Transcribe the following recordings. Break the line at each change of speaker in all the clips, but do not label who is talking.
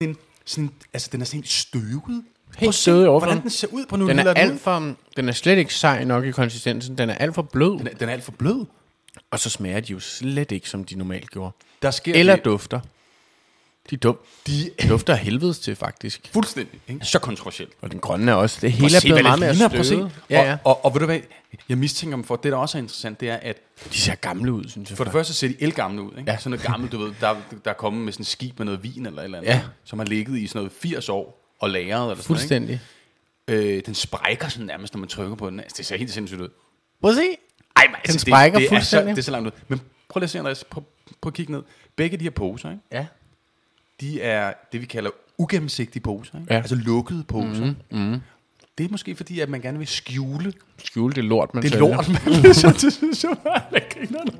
den, sådan, altså, den er sådan helt støvet.
Helt
Prøv at se,
støvet i overfloden.
Hvordan den ser ud på nu.
Den er,
hælder ud.
alt for, den er slet ikke sej nok i konsistensen. Den er alt for blød.
den, er, den er alt for blød.
Og så smager de jo slet ikke, som de normalt gjorde.
Der sker
Eller
det-
dufter. De, dum, de dufter af helvedes til, faktisk.
Fuldstændig. Ikke? Så kontroversielt.
Og den grønne er også. Det hele er
se, hvad
blevet meget
det
mere
ligner. Prøv at se.
støvet. Ja, ja.
Og, og, og ved du hvad, jeg mistænker dem for, det der også er interessant, det er, at
De ser gamle ud, synes jeg.
for det
faktisk.
første ser de elgamle ud. Ikke? Ja. Sådan noget gammelt, du ved, der, der er kommet med sådan en skib med noget vin eller et eller andet,
Ja.
ikke? som har ligget i sådan noget 80 år og lagret. Eller sådan, noget,
Fuldstændig.
ikke? Øh, den sprækker sådan nærmest, når man trykker på den. Altså, det ser helt sindssygt ud.
Prøv at se.
Ej, men altså,
sprækker
det, det, er så,
fuldstændig.
det er så langt ud. Men prøv lige at se, Andreas. Prøv, prøv at kigge ned. Begge de her poser, ikke?
Ja.
de er det, vi kalder ugennemsigtige poser. Ikke?
Ja.
Ja. Altså lukkede poser. Mm, mm. Det er måske fordi, at man gerne vil skjule
Skjul det lort, man
det
sælger.
lort, man ligesom til synes, jeg var alle grinerne.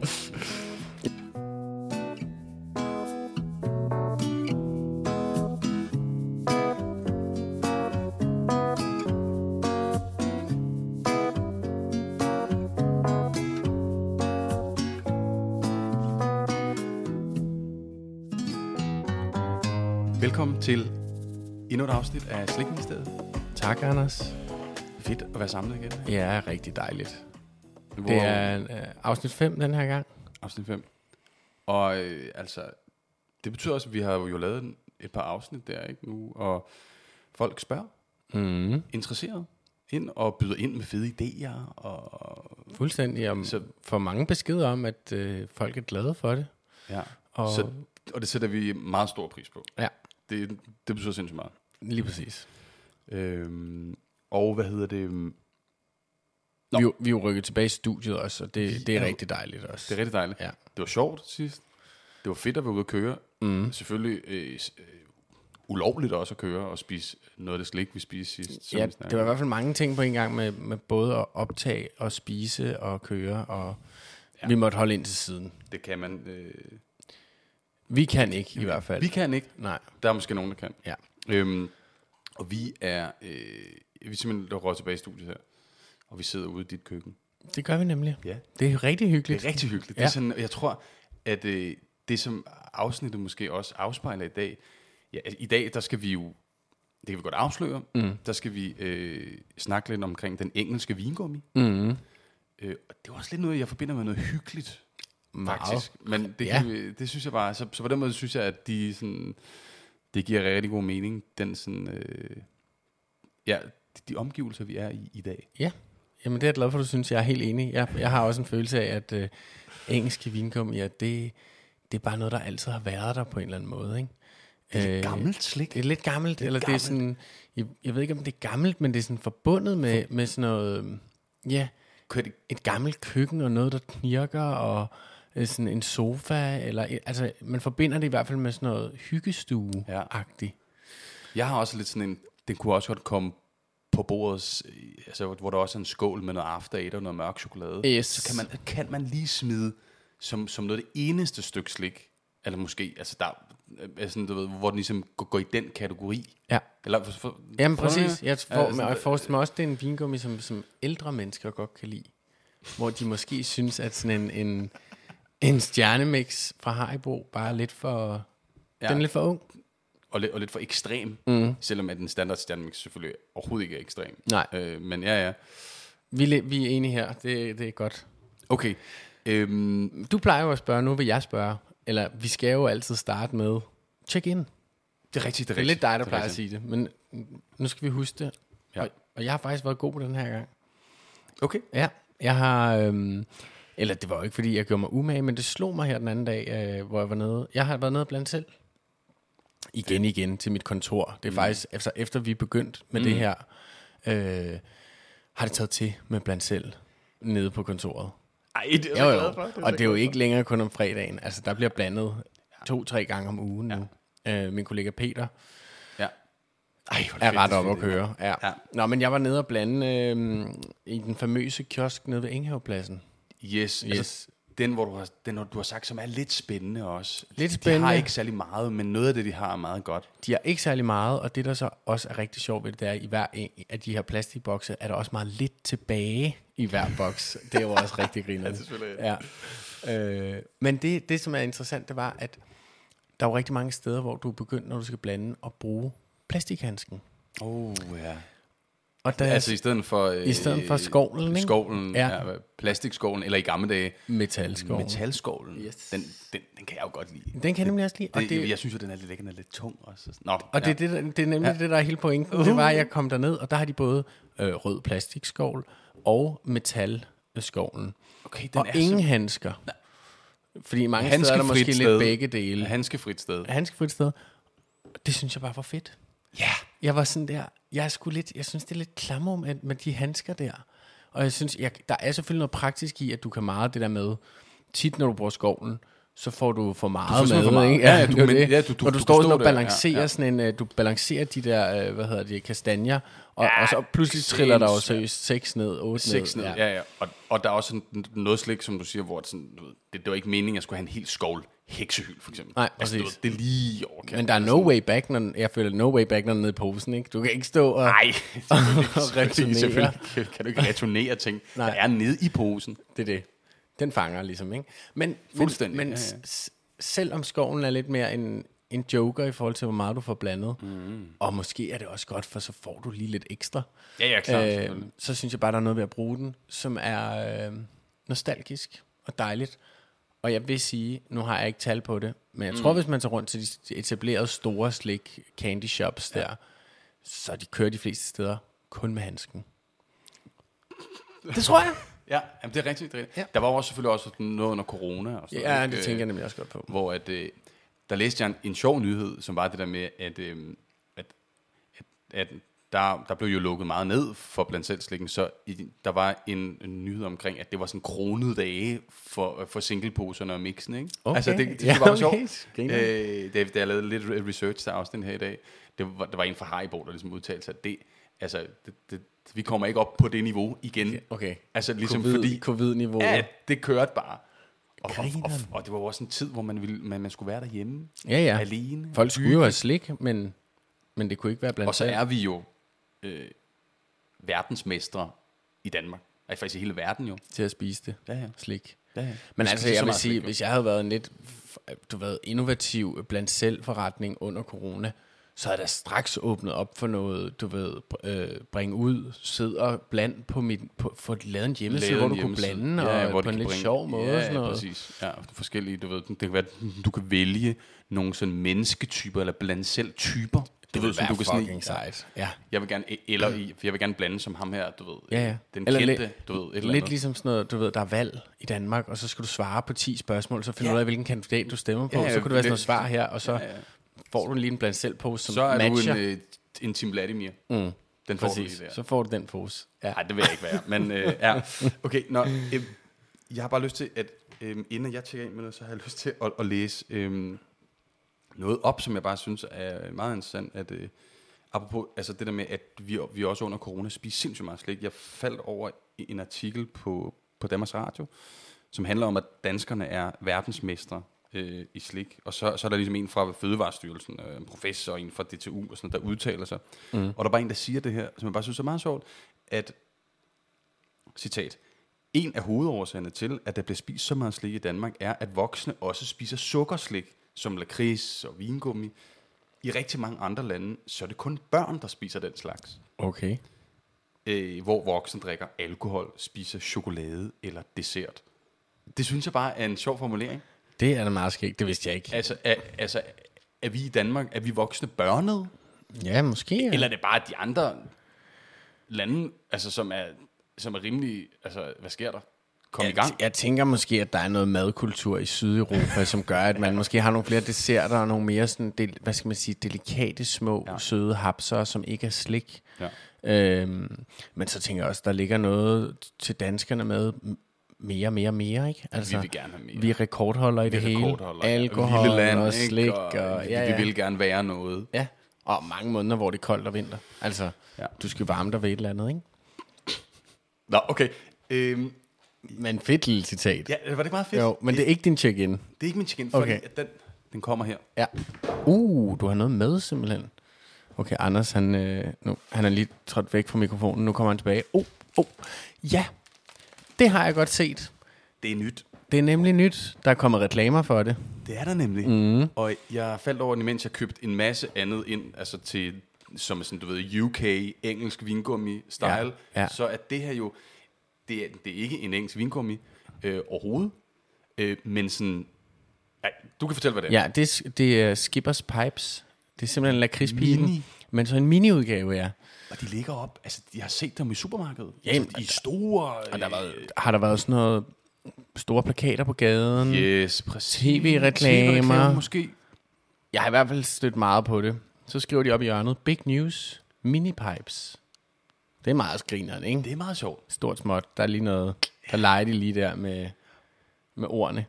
Velkommen til endnu et afsnit af Slikministeriet.
Tak, Anders.
Fedt at være samlet igen.
Ja, rigtig dejligt.
Nu
Det
hvor-
er øh, afsnit 5 den her gang.
Afsnit 5. Og øh, altså, det betyder også, at vi har jo lavet en- et par afsnit der, ikke nu? Og folk spørger,
Mm.
interesseret ind og byder ind med fede idéer. Og,
Fuldstændig. Om,
Så-
for mange beskeder om, at øh, folk er glade for det.
ja.
Og,
og, så, og det sætter vi meget stor pris på.
Ja,
Det, det betyder sindssygt meget.
lige præcis.
Øhm, og hvad hedder det? Øhm, Det
Vi, er jo- vi er jo rykket tilbage i studiet også, og det, det er rigtig dejligt også.
er rigtig dejligt.
Ja.
Det var sjovt sidst. Det var fedt at være ude at køre. Mm. Selvfølgelig øh, s- øh, ulovligt også at køre og spise noget af det slik, vi spiste sidst. som
Ja,
vi snakkede
det var i hvert fald mange ting på en gang med, med både at optage og spise og køre, og ja. vi måtte holde ind til siden.
om. Det kan man... Øh,
Vi kan ikke i hvert fald.
vi kan ikke.
Nej,
Der er måske nogen, der kan.
ja.
Øhm, og vi er, øh, vi er simpelthen der røget tilbage i studiet her. Og vi sidder ude i dit køkken.
Det gør vi nemlig.
Ja.
Det er rigtig hyggeligt.
Det er rigtig hyggeligt. Ja. Det
Ja.
er sådan, jeg tror, at øh, det som afsnittet måske også afspejler i dag, ja, at i dag, der skal vi jo, det kan vi godt afsløre, mm. der skal vi øh, snakke lidt omkring den engelske vingummi.
Mm.
Øh, og det er også lidt noget, jeg forbinder med noget hyggeligt.
Meget.
Faktisk. Men det, ja.
Ja.
vi, det synes jeg bare, så, så på den måde synes jeg, at de sådan, det giver rigtig god mening, den sådan, øh, ja, de, de omgivelser, vi er i i dag.
Ja, jamen det er jeg glad for, du synes. Jeg er helt enig. Jeg, jeg har også en følelse af, at øh, engelske vinkum, ja, det, det er bare noget, der altid har været der på en eller anden måde. Ikke? Det er øh,
Gammelt slik.
Det er lidt gammelt, eller det er sådan, jeg, jeg ved ikke, om det er gammelt, men det er sådan forbundet med, med sådan noget, øhm, ja, et gammelt køkken og noget, der knirker, og øh, sådan en sofa, eller, altså, man forbinder det i hvert fald med sådan noget hyggestue-agtigt.
Jeg har også lidt sådan en, den kunne også godt komme på bordet, øh, altså, hvor der også er en skål med noget after eight og noget mørk chokolade.
Yes.
Så kan man, kan man lige smide som, som noget af det eneste stykke slik, eller måske, altså der, er sådan, du ved, hvor den ligesom går, går i den kategori.
Ja.
Eller, for, for,
Jamen
forstår du,
præcis. Jeg,
Ja,
for,
sådan-
og jeg forestiller mig også, det er en vingummi, som, som ældre mennesker godt kan lide. Hvor de måske synes, at sådan en, en, en stjernemix fra Haribo bare er lidt for... Ja.
Ja.
Den er lidt for ung.
og, lidt, og lidt for ekstrem, mm. selvom at den standard stjernemix selvfølgelig overhovedet ikke er ekstrem.
Nej.
Øh, men ja, ja.
Vi, er lidt- vi er enige her. Det, det er godt.
Okay. Øhm,
Du plejer jo at spørge, nu vil jeg spørge. Eller vi skal jo altid starte med check in. Det
det er rigtigt, det er rigtigt.
er lidt dig, der
er
plejer at
rigtigt.
sige det. Men nu skal vi huske det.
Ja.
Og, og jeg har faktisk været god på den her gang.
Okay.
Ja, jeg har... Øhm, eller det var jo ikke, fordi jeg gjorde mig umage, men det slog mig her den anden dag, øh, hvor jeg var nede. Jeg har været nede blandt selv. Igen, igen til mit kontor. Det er mm. faktisk, altså, efter vi er begyndt med mm. det her, øh, har det taget til med blandt selv nede på kontoret.
Ej, det er
Jo, jo. Og det er jo ikke længere kun om fredagen. Altså, der bliver blandet to-tre gange om ugen nu. Øh, min kollega Peter,
Ja. Ej, hvor
er
fedt,
ret
det
op at
fedt.
køre. Ja.
Ja.
ja. Nå, men jeg var nede og blande øh, i den famøse kiosk nede ved Enghavepladsen.
Yes, yes.
Yes.
Altså, den, hvor du har, den, hvor du har sagt, som er lidt spændende også.
Lidt
De har
spændende.
ikke særlig meget, men noget af det, de har, er meget godt.
De har ikke særlig meget, og det der så også er rigtig sjovt ved det, det er, at i hver en af de her plastikbokse, er der også meget lidt tilbage i hver boks. Det er jo også rigtig grinerende.
selvfølgelig
ja. øh, men det, det, som er interessant, det var, at Der er jo rigtig mange steder, hvor du er begyndt, når du skal blande, at bruge plastikhandsken.
Oh, ja.
Og der
Altså i stedet for... Øh,
I stedet for skovlen, ikke?
Skovlen,
Ja.
ja. ja. Plastikskovlen, eller i gamle dage,
metalskoven. Metal.
metalskovlen. Yes. Den, den, den kan jeg jo godt lide.
Den kan jeg nemlig også lide. Og
Det,
det,
jeg synes jo, den er lidt, den er lidt tung også. Nå,
Og det, er det, der- det er nemlig ja. det, der er hele pointen. Det var, at jeg kom derned, og der har de både øh, rød plastikskovl og metalskovlen.
okay, den
Den og
er
ingen handsker. Fordi mange steder er der
Handskefrit
måske sted.
sted.
lidt begge
så
dele.
handskefrit sted.
Handskefrit sted. Det synes jeg bare var fedt.
Ja.
Jeg var sådan der, jeg er sgu lidt, jeg synes det er lidt klammer med, med de handsker der. Og jeg synes, jeg, der er selvfølgelig noget praktisk i, at du kan meget det der med, tit når du bruger skovlen, så får du for meget
simpelthen
med,
for meget.
ikke?
Ja, ja, du-
det er jo
men-
det.
ja, du- du-
Når
du
du,
kan
står
stå
sådan og
der, ja,
balancerer
ja.
sådan en, øh, du balancerer de der, øh, hvad hedder de, kastanjer, og, ja, og så pludselig triller der jo
sindssygt.
seriøst 6 ned, 8
Seks
ned.
ned. Ja, ja. Og, og der er også sådan noget slik, som du siger, hvor det, sådan, du ved, det, det var ikke meningen, at jeg skulle have en hel skovl heksehyld, for eksempel.
Nej,
altså, du
præcis.
ved, det er lige i overkant.
Men der er no way back, når den, jeg føler no way back, når den er nede i posen, ikke? Du kan ikke stå og...
Nej,
returnere.
selvfølgelig, selvfølgelig kan, kan du ikke returnere ting,
Nej.
der er nede i posen.
Det er det. Den fanger ligesom, ikke? Men,
Fuldstændig,
Men, men
ja,
ja, ja. selvom skoven er lidt mere en, en joker i forhold til, hvor meget du får blandet, mm. og måske er det også godt, for så får du lige lidt ekstra,
Ja, ja, klart.
øh, så synes jeg bare, der er noget ved at bruge den, som er øh, nostalgisk og dejligt. Og jeg vil sige, nu har jeg ikke tal på det, men jeg tror, hvis man tager rundt til de etablerede store slik candy shops ja. der, så de kører de fleste steder kun med handsken. Det tror jeg.
Ja, jamen, det er rigtigt. Det er rigtigt.
Ja.
Ja. Der var jo også selvfølgelig også noget under corona. Og sådan
Ja,
ikke? øh,
det tænker jeg nemlig også godt på.
Hvor at, øh, der læste jeg en, en sjov nyhed, som var det der med, at, øh, at, at, at der, der blev jo lukket meget ned for blandt selv slikken, så i, der var en, en nyhed omkring, at det var sådan kronede dage for, for singleposerne og mixen, ikke?
Okay.
Altså, det, det, det
Ja,
ja, var
okay.
okay. sjovt.
Griner.
Øh, da, da jeg lavede lidt re- research der også den her i dag, det var, der var en fra Haribo, der ligesom udtalte sig, at det, altså, det, det, vi kommer ikke op på det niveau igen.
Okay.
Altså ligesom
COVID,
fordi,
Covid-niveauet.
Ja, det kørte bare. Og, og, og,
Grineren.
og det var jo også en tid, hvor man, ville, man, man skulle være derhjemme,
ja, ja.
alene.
Folk skulle jo have slik, men, men det kunne ikke være blandt
Og så
selv.
er vi jo øh, verdensmestre i Danmark. Altså faktisk i hele verden jo.
til at spise det.
Ja, ja.
Slik.
Ja, ja.
Men
Vi
altså,
spiser så
jeg vil
meget
sige,
slik, jo.
hvis jeg havde været en lidt du ved, innovativ blandt selv forretning under corona, så havde jeg da straks åbnet op for noget, du ved, br- øh, bringe ud, sidde og bland på mit, på, få lavet en hjemmeside,
Lavet
hvor
en
du kunne
hjemmeside.
blande,
Ja,
ja, og
hvor
på
de kan
en lidt
bringe-
sjov måde
ja,
og sådan noget.
præcis. Ja, og forskellige, du ved, det kan være, du kan vælge nogle sådan mennesketyper, eller blande selv typer. Du ved, som du kan sådan,
fucking sejt. Ja.
jeg vil gerne, eller i- jeg vil gerne blande som ham her, du ved, øh,
Ja, ja.
den
Eller
kendte,
lidt-
du ved, et eller
Lidt
andet.
ligesom sådan noget, du ved, der er valg i Danmark, og så skal du svare på 10 spørgsmål, så finder du ud af, hvilken kandidat du stemmer på,
Ja, ja,
så kunne det være sådan noget
lidt-
svar her, og så
ja.
får du lige en blandt selv pose, som
Så er
matcher.
du en, øh, en Team Vladimir. Mm. Den får Præcis.
Præcis,
du lige der.
så får du den pose. Ja.
Nej, det vil jeg ikke være. Men øh, ja, okay. Nå, øh, jeg har bare lyst til, at øh, inden jeg tjekker ind med noget, så har jeg lyst til at, at læse øh, noget op, som jeg bare synes er meget interessant. At, øh, apropos altså det der med, at vi, vi også under corona spiser sindssygt meget slik. Jeg faldt over en artikel på, på Danmarks Radio, som handler om, at danskerne er verdensmestre øh, i slik. Og så, så er der ligesom en fra Fødevarestyrelsen, øh, en professor, og en fra DTU, og sådan, noget, der udtaler sig. Mm. Og der er bare en, der siger det her, som jeg bare synes er meget sjovt, at Citat. En af hovedårsagerne til, at der bliver spist så meget slik i Danmark, er, at voksne også spiser sukkerslik, som lakrids og vingummi. I rigtig mange andre lande, så er det kun børn, der spiser den slags.
Okay.
Øh, hvor voksne drikker alkohol, spiser chokolade eller dessert. Det synes jeg bare er en sjov formulering.
Det er da meget skægt, det vidste jeg ikke.
Altså, er, altså, er vi i Danmark, er vi voksne børnede?
Ja, måske. ja.
Eller er det bare de andre lande, altså, som, er, som er rimelig... Altså, hvad sker der? Kom i
jeg,
gang.
jeg tænker måske, at der er noget madkultur i Sydeuropa, som gør, at man måske har nogle flere desserter og nogle mere sådan, del, hvad skal man sige, delikate små ja. søde hapser, som ikke er slik.
Ja.
Øhm, men så tænker jeg også, der ligger noget til danskerne med m- mere, mere, mere, ikke? Altså,
vil gerne have mere.
Vi er rekordholder i det hele.
Rekordholder, ja.
Alkohol
Lille
land, og
ikke?
slik. Og,
Og,
ja,
ja,
ja.
Vi vil gerne være noget.
ja. Og mange måneder, hvor det er koldt og vinter. Altså, ja.
Ja.
du skal varme dig ved et eller andet, ikke?
Nå, okay. Øhm,
Men fedt lille citat.
ja, var det ikke meget fedt?
Jo, men det er ikke din check-in.
Det er ikke min chicken, fordi
Okay.
okay. at den, den kommer her.
Ja. Uh, du har noget med simpelthen. Okay, Anders, han, øh, nu, han er lige trådt væk fra mikrofonen. Nu kommer han tilbage. Oh, oh. Ja, det har jeg godt set.
Det er nyt.
Det er nemlig nyt. Der er kommet reklamer for det.
Det er der nemlig.
Mhm.
Mm. Og jeg faldt over den, imens jeg købte en masse andet ind, altså til, som er sådan, du ved, UK, engelsk vingummi-style. Ja.
Ja.
Ja. Så at det her jo, det er, det er ikke en engelsk vingummi øh, overhovedet, øh, men sådan, ej, du kan fortælle, hvad det er.
Ja, det, er s- det er Skippers Pipes. Det er simpelthen lakridspigen.
Mini.
Men så en miniudgave, ja.
Og de ligger op, altså jeg har set dem i supermarkedet.
Jamen,
Sådan, de er store. Og
Der var, har der været sådan noget store plakater på gaden?
Yes, præcis.
TV-reklamer.
TV-reklamer øh, måske.
Jeg har i hvert fald stødt meget på det. Så skriver de op i hjørnet, Big News, Minipipes. Det er meget skrineren, ikke?
Det er meget sjovt.
Stort småt. Der er lige noget, der leger de lige der med, med ordene.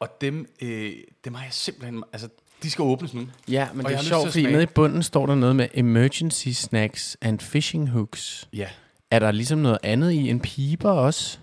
Og dem, øh, dem har jeg simpelthen... Altså, de skal åbnes nu.
Ja, men
Og jeg
det er
har lyst til
sjovt,
at
fordi
smage.
nede i bunden står der noget med emergency snacks and fishing hooks.
Ja.
Er der ligesom noget andet i en piber også?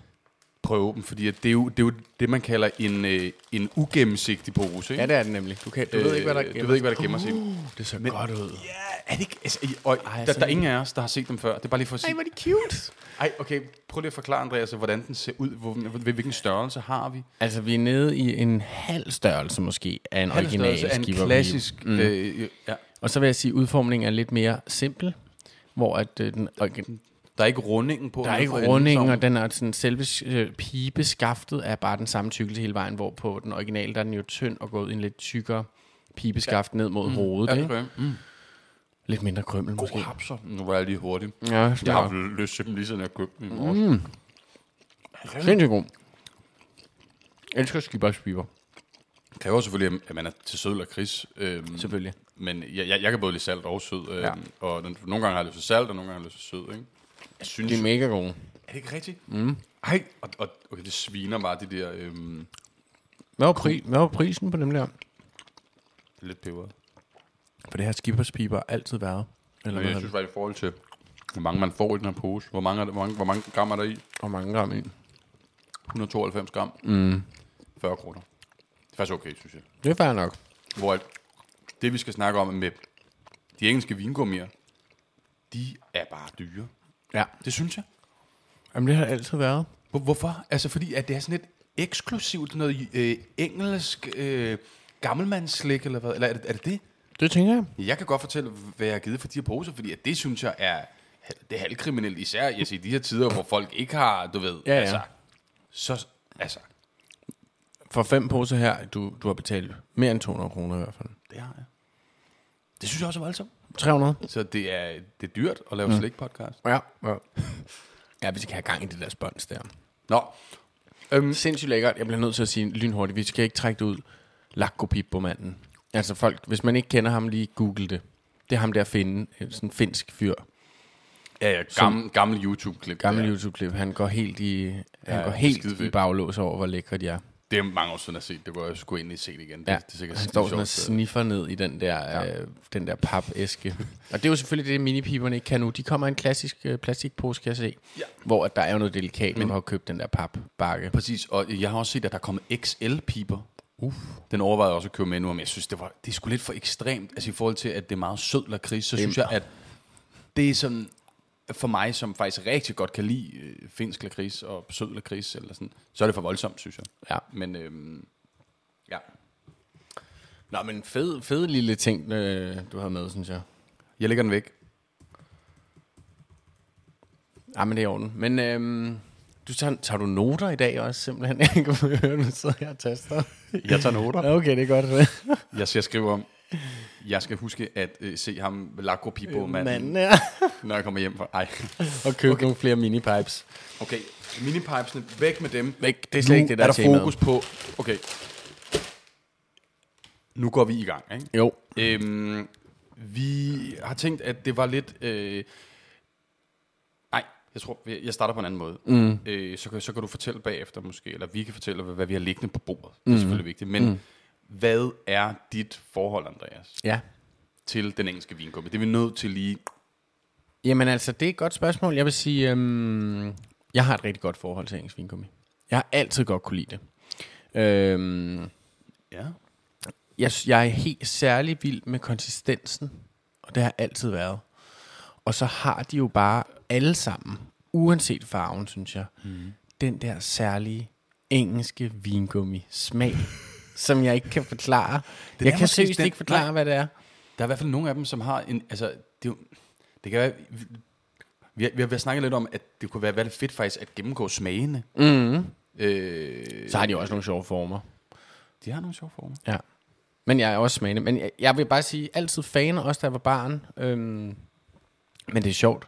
Prøv at åbne, fordi at det er, jo, det er jo det, man kalder en, øh, en ugennemsigtig pose. Ikke?
det er det nemlig. Du, kan, Øh, du
Du ved ikke, hvad der gemmer sig. Uh,
det ser Men, godt ud.
ja, er det ikke... Altså, i- og, Ej, der,
sådan-
der er ingen af os, der har set dem før. Det er bare lige for at sige...
er de cute.
Ej, okay, prøv lige at forklare, Andreas, hvordan den ser ud. Hvor, hvor- hvilken størrelse har vi?
Altså, vi er nede i en halv størrelse måske af en
Halv
original
størrelse er
skipper.
en klassisk... Mm. Øh, ja.
Og så vil jeg sige, at udformningen er lidt mere simpel, hvor at, øh, den, og,
Der er ikke rundingen på.
der er
nede
ikke
for enden,
runding,
som-
og den er sådan, selve øh, pibeskaftet er bare den samme tykkelse hele vejen, hvor på den originale, der er den jo tynd og gået i en lidt tykkere pibeskaft ned mod hovedet.
Ja,
Ikke?
okay. Mm.
Lidt mindre krømmel måske.
God hapser. Nu var jeg lige hurtig.
Ja,
Jeg har haft lyst til dem lige siden jeg købte dem i morges. Mm.
sindssygt god. Jeg elsker skibers piber.
Kræver selvfølgelig, at man er til sød lakrids. Øhm,
Selvfølgelig.
Men jeg, jeg, jeg kan både lide salt og sød. Øhm,
Ja.
ja. Og den, nogle gange har jeg lyst til salt, og nogle gange har jeg lyst til sød. Ikke? Jeg synes,
De er
det er,
mega gode.
er det ikke rigtigt? Mm. Ej, og, og okay, det sviner bare de der øhm,
Hvad var, pri- Hvad var prisen på dem der?
lidt peber.
For det her skibers piber altid været. Eller
Men jeg synes bare i forhold til, hvor mange man får i den her pose. Hvor mange, er der- hvor mange, hvor mange gram er der i?
hvor mange gram i.
192 gram. Mm. 40 kroner. Det er faktisk okay, synes jeg.
Det er fair nok.
Hvor at det, vi skal snakke om med de engelske vingummier, de er bare dyre.
Ja.
Det synes jeg.
Jamen, det har altid været.
Hvor- Hvorfor? Altså fordi, at det er sådan lidt eksklusivt noget øh, engelsk øh, gammelmandsslik, eller hvad? Eller er det, er det det?
Det tænker jeg.
Jeg kan godt fortælle, hvad jeg har givet for de her poser, fordi at det synes jeg er, det er halvkriminelt, især jeg siger, i de her tider, hvor folk ikke har, du ved,
Ja, ja.
altså, så, altså,
For fem poser her, du, du har betalt mere end 200 kroner i hvert fald.
det har jeg. Det synes jeg også er voldsomt.
300?
Så det er, det er dyrt at lave mm. slik-podcast.
Ja. Ja, ja vi skal have gang i det der spons der.
Nå,
Øhm, sindssygt lækkert. Jeg bliver nødt til at sige lynhurtigt, vi skal ikke trække det ud. Lakkopi på manden. Altså folk, hvis man ikke kender ham, lige google det. Det er ham der finde, øh, sådan en finsk fyr.
Ja, ja, gammel, gammel YouTube-klip.
Gammel
det,
ja.
er.
YouTube-klip. Han går helt i, ja, han
ja,
går helt
skide
i
fedt.
baglås over, hvor lækre de er.
det er mange år siden, jeg har set det, hvor jeg skulle ind og se det igen. Det,
Ja,
det er sikkert
han
skide
står sådan og
sjovt.
sniffer ned i den der, ja. øh, den der papæske. og det er jo selvfølgelig det, minipiberne ikke kan nu. De kommer i en klassisk øh, plastikpose, kan jeg se.
Ja.
Hvor at der er jo noget delikat, men du har købt den der papbakke.
Præcis, og jeg har også set, at der er kommet XL-piber. Uff. Den overvejede jeg også at købe med nu, men jeg synes, det var det er sgu lidt for ekstremt. Altså i forhold til, at det er meget sød lakrids, så synes jeg, at det er sådan for mig, som faktisk rigtig godt kan lide øh, finsk lakrids og sød lakrids, eller sådan, så er det for voldsomt, synes jeg.
Ja.
Men øhm, ja,
Nå, men fed, fed lille ting, øh, du har med, synes jeg.
jeg lægger den væk.
Ja, men det er i orden. Men øhm, du tager, tager du noter i dag også, simpelthen? Jeg kan høre, du sidder her og taster.
Jeg tager noter.
Okay, det er godt.
Jeg skal skrive om, jeg skal huske at øh, se ham lakropibo manden,
Manden er.
når jeg kommer hjem fra. Ej.
Og købe okay. nogle flere minipipes.
Okay, minipipesene, væk med dem.
Væk, det er slet
nu
ikke det, der
er
er
der
temaet.
fokus på, okay, nu går vi i gang, ikke?
Jo.
Øhm, vi har tænkt, at det var lidt... Øh, nej, jeg tror, jeg jeg starter på en anden måde. Mm. Øh, så, kan, så kan du fortælle bagefter måske, eller vi kan fortælle, hvad, hvad vi har liggende på bordet. Det er selvfølgelig vigtigt, men mm. hvad er dit forhold, Andreas?
Ja.
til den engelske vingummi. Det er vi nødt til lige...
Jamen altså, det er et godt spørgsmål. Jeg vil sige, øhm, jeg har et rigtig godt forhold til engelsk vingummi. Jeg har altid godt kunne lide det. Øhm,
Ja.
jeg, sy- jeg er helt særlig vild med konsistensen, og det har jeg altid været. Og så har de jo bare alle sammen, uanset farven, synes jeg, mm. den der særlige engelske vingummi smag, som jeg ikke kan forklare. Det jeg kan
måske
seriøst
den-
ikke forklare,
nej.
hvad det er.
Der er i hvert fald nogle af dem, som har en... Altså, det, er jo- det kan være... Vi, vi, har, vi har snakket lidt om, at det kunne være veldig fedt faktisk at gennemgå smagene. Mm. Øh,
Så har de også nogle sjove former.
de har nogle sjove former.
Ja. Men jeg er også smagende. Men jeg, jeg vil bare sige, altid fan, også da jeg var barn. Øhm, men det er sjovt.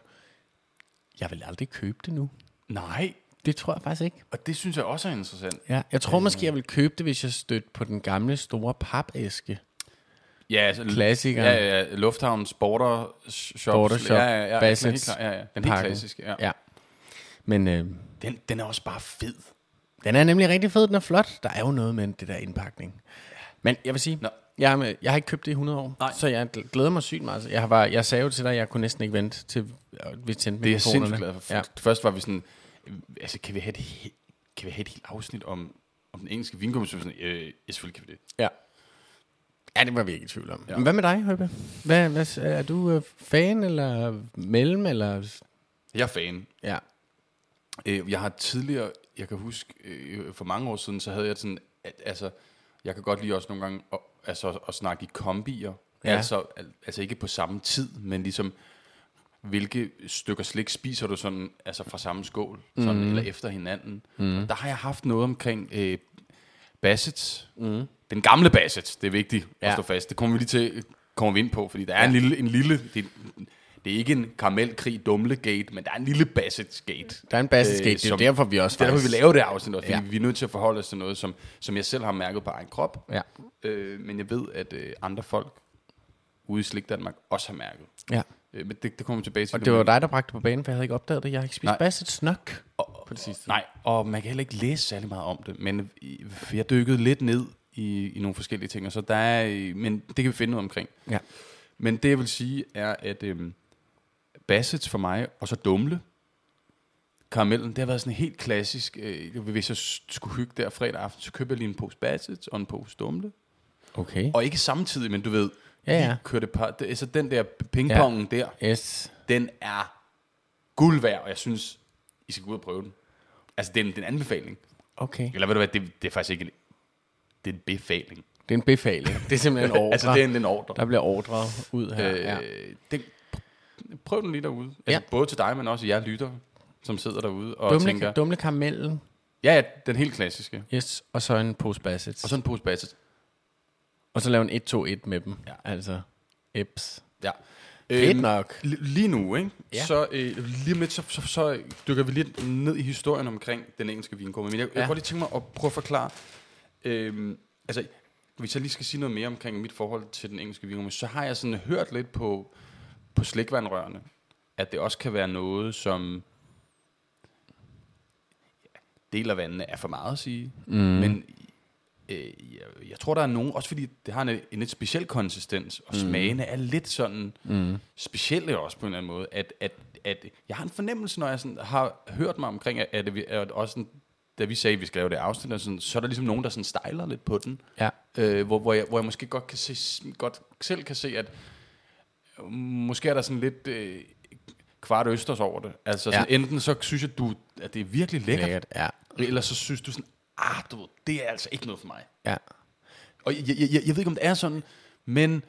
Jeg vil aldrig købe det nu.
Nej,
Det tror jeg faktisk ikke.
og det synes jeg også er interessant.
Ja, jeg tror
Øh.
måske, jeg vil købe det, hvis jeg stødte på den gamle store papæske.
Ja, altså,
Klassikeren.
Ja, ja, ja. Lufthavn, Sporter, Shops.
Border Shop,
ja, ja, ja,
Bassets,
helt klart, ja, ja. Den helt
pakken.
klassiske, ja. ja.
ja. Men øh,
Den, den er også bare fed.
den er nemlig rigtig fed, den er flot. Der er jo noget med det der indpakning. Men jeg vil sige,
Nå.
jeg, er med- jeg har ikke købt det i 100 år,
Nej.
så jeg gl- glæder mig sygt meget. Jeg, var, jeg sagde jo til dig, at jeg kunne næsten ikke vente til, at vi tændte
Det er jeg
mikrofonerne.
sindssygt glad for. Ja.
Ja.
Først var vi sådan, øh, altså kan vi have et, he- kan vi have et helt afsnit om, om den engelske vingummi? Så var vi sådan, øh, ja, selvfølgelig kan vi det.
Ja. Ja, det var vi ikke i tvivl om. Ja. Men hvad med dig, Høbe? Hvad, hvad, s- er du øh, fan, eller øh, mellem, eller... s-
Jeg er fan.
Ja.
Øh, jeg har tidligere, jeg kan huske, øh, for mange år siden, så havde jeg sådan, at, altså, jeg kan godt lide også nogle gange at, altså, at snakke i kombier.
Ja.
Ja. Altså, al, altså ikke på samme tid, men ligesom, hvilke stykker slik spiser du sådan, altså fra samme skål, sådan, mm. eller efter hinanden. Mm. Og der har jeg haft noget omkring øh, Bassets. Mm. Den gamle Bassets, det er vigtigt at
Ja.
ja. stå fast. Det kommer vi lige til, kommer vi ind på, fordi der er en lille, en lille det, det er ikke en karamelkrig dumlegate, men der er en lille Bassets-gate.
Der er en bassesgate,
Øh,
øh, det er jo
som-
derfor, vi også
Det er derfor, vi laver det afsnit også, fordi
Ja.
ja. vi er nødt til at forholde os til noget, som, som jeg selv har mærket på egen krop.
Ja.
Øh, men jeg ved, at øh, andre folk ude i Slik Danmark også har mærket.
Ja.
Øh, men det, det kommer vi tilbage til.
Og det var dig, der bragte det på banen, for jeg havde ikke opdaget det. Jeg har ikke spist
Nej.
bassets nok.
og, på det sidste. Nej, og man kan heller ikke læse særlig meget om det, men i- jeg dykkede lidt ned i, i nogle forskellige ting, og så der er, øh, men det kan vi finde ud omkring.
Ja.
Men det, jeg vil sige, er, at øhm, Bassets for mig, og så Dumle, karamellen, det har været sådan helt klassisk. Øh, hvis jeg s- skulle hygge der fredag aften, så købte jeg lige en pose Bassets og en pose Dumle.
Okay.
Og ikke samtidig, men du ved,
Ja, ja.
lige kørte par, det, altså den der pingpongen ja. der,
Yes.
den er guld værd, og jeg synes, I skal gå ud og prøve den. Altså, det er en, det er en anbefaling.
Okay.
Eller ved du hvad, det, det er faktisk ikke en, det er en befaling.
Det er en befaling. Det er simpelthen en ordre.
altså, det er en, en ordre.
Der bliver ordre ud her.
Øh,
ja.
den, pr- prøv den lige derude. Altså,
Ja.
ja. Både til dig, men også jer lyttere, som sidder derude og dumle, tænker...
Dumle, dumle karamellen.
Ja, ja, den helt klassiske.
Yes. Og så en pose bassets.
Og så en pose bassets.
og så lave en 1-2-1 med dem. Øhm,
Ja.
Altså, eps.
Ja. Øhm,
Fedt nok.
L- lige nu, ikke?
Ja.
Ja. Så øh, lige om lidt, så, så, så dykker vi lidt ned i historien omkring den engelske vingummi. Men jeg, ja.
Ja.
jeg kunne godt lige tænke mig at prøve at forklare... Øh, altså, hvis jeg lige skal sige noget mere omkring mit forhold til den engelske vingummi, så har jeg sådan hørt lidt på, på slikvandrørene, at det også kan være noget, som deler vandene er for meget at sige. Mm. Men øh, jeg, jeg tror, der er nogen, også fordi det har en, en lidt speciel konsistens, og mm. smagene er lidt sådan mm. specielle også på en eller anden måde, at, at, at jeg har en fornemmelse, når jeg sådan har hørt mig omkring, at, at, vi- at også sådan, da vi sagde, at vi skal lave det afsnit, og sådan, så er der ligesom nogen, der sådan stejler lidt på den,
Ja.
øh, hvor, hvor, jeg, hvor jeg måske godt, kan se, godt selv kan se, at øh, måske er der sådan lidt... Øh, kvart østers over det. Altså sådan,
Ja.
ja. enten så synes jeg, du, at det er virkelig lækkert,
Lækkert. Ja.
eller så synes du sådan, ah, du ved, det er altså ikke noget for mig.
Ja.
Og jeg, jeg, jeg, jeg ved ikke, om det er sådan, men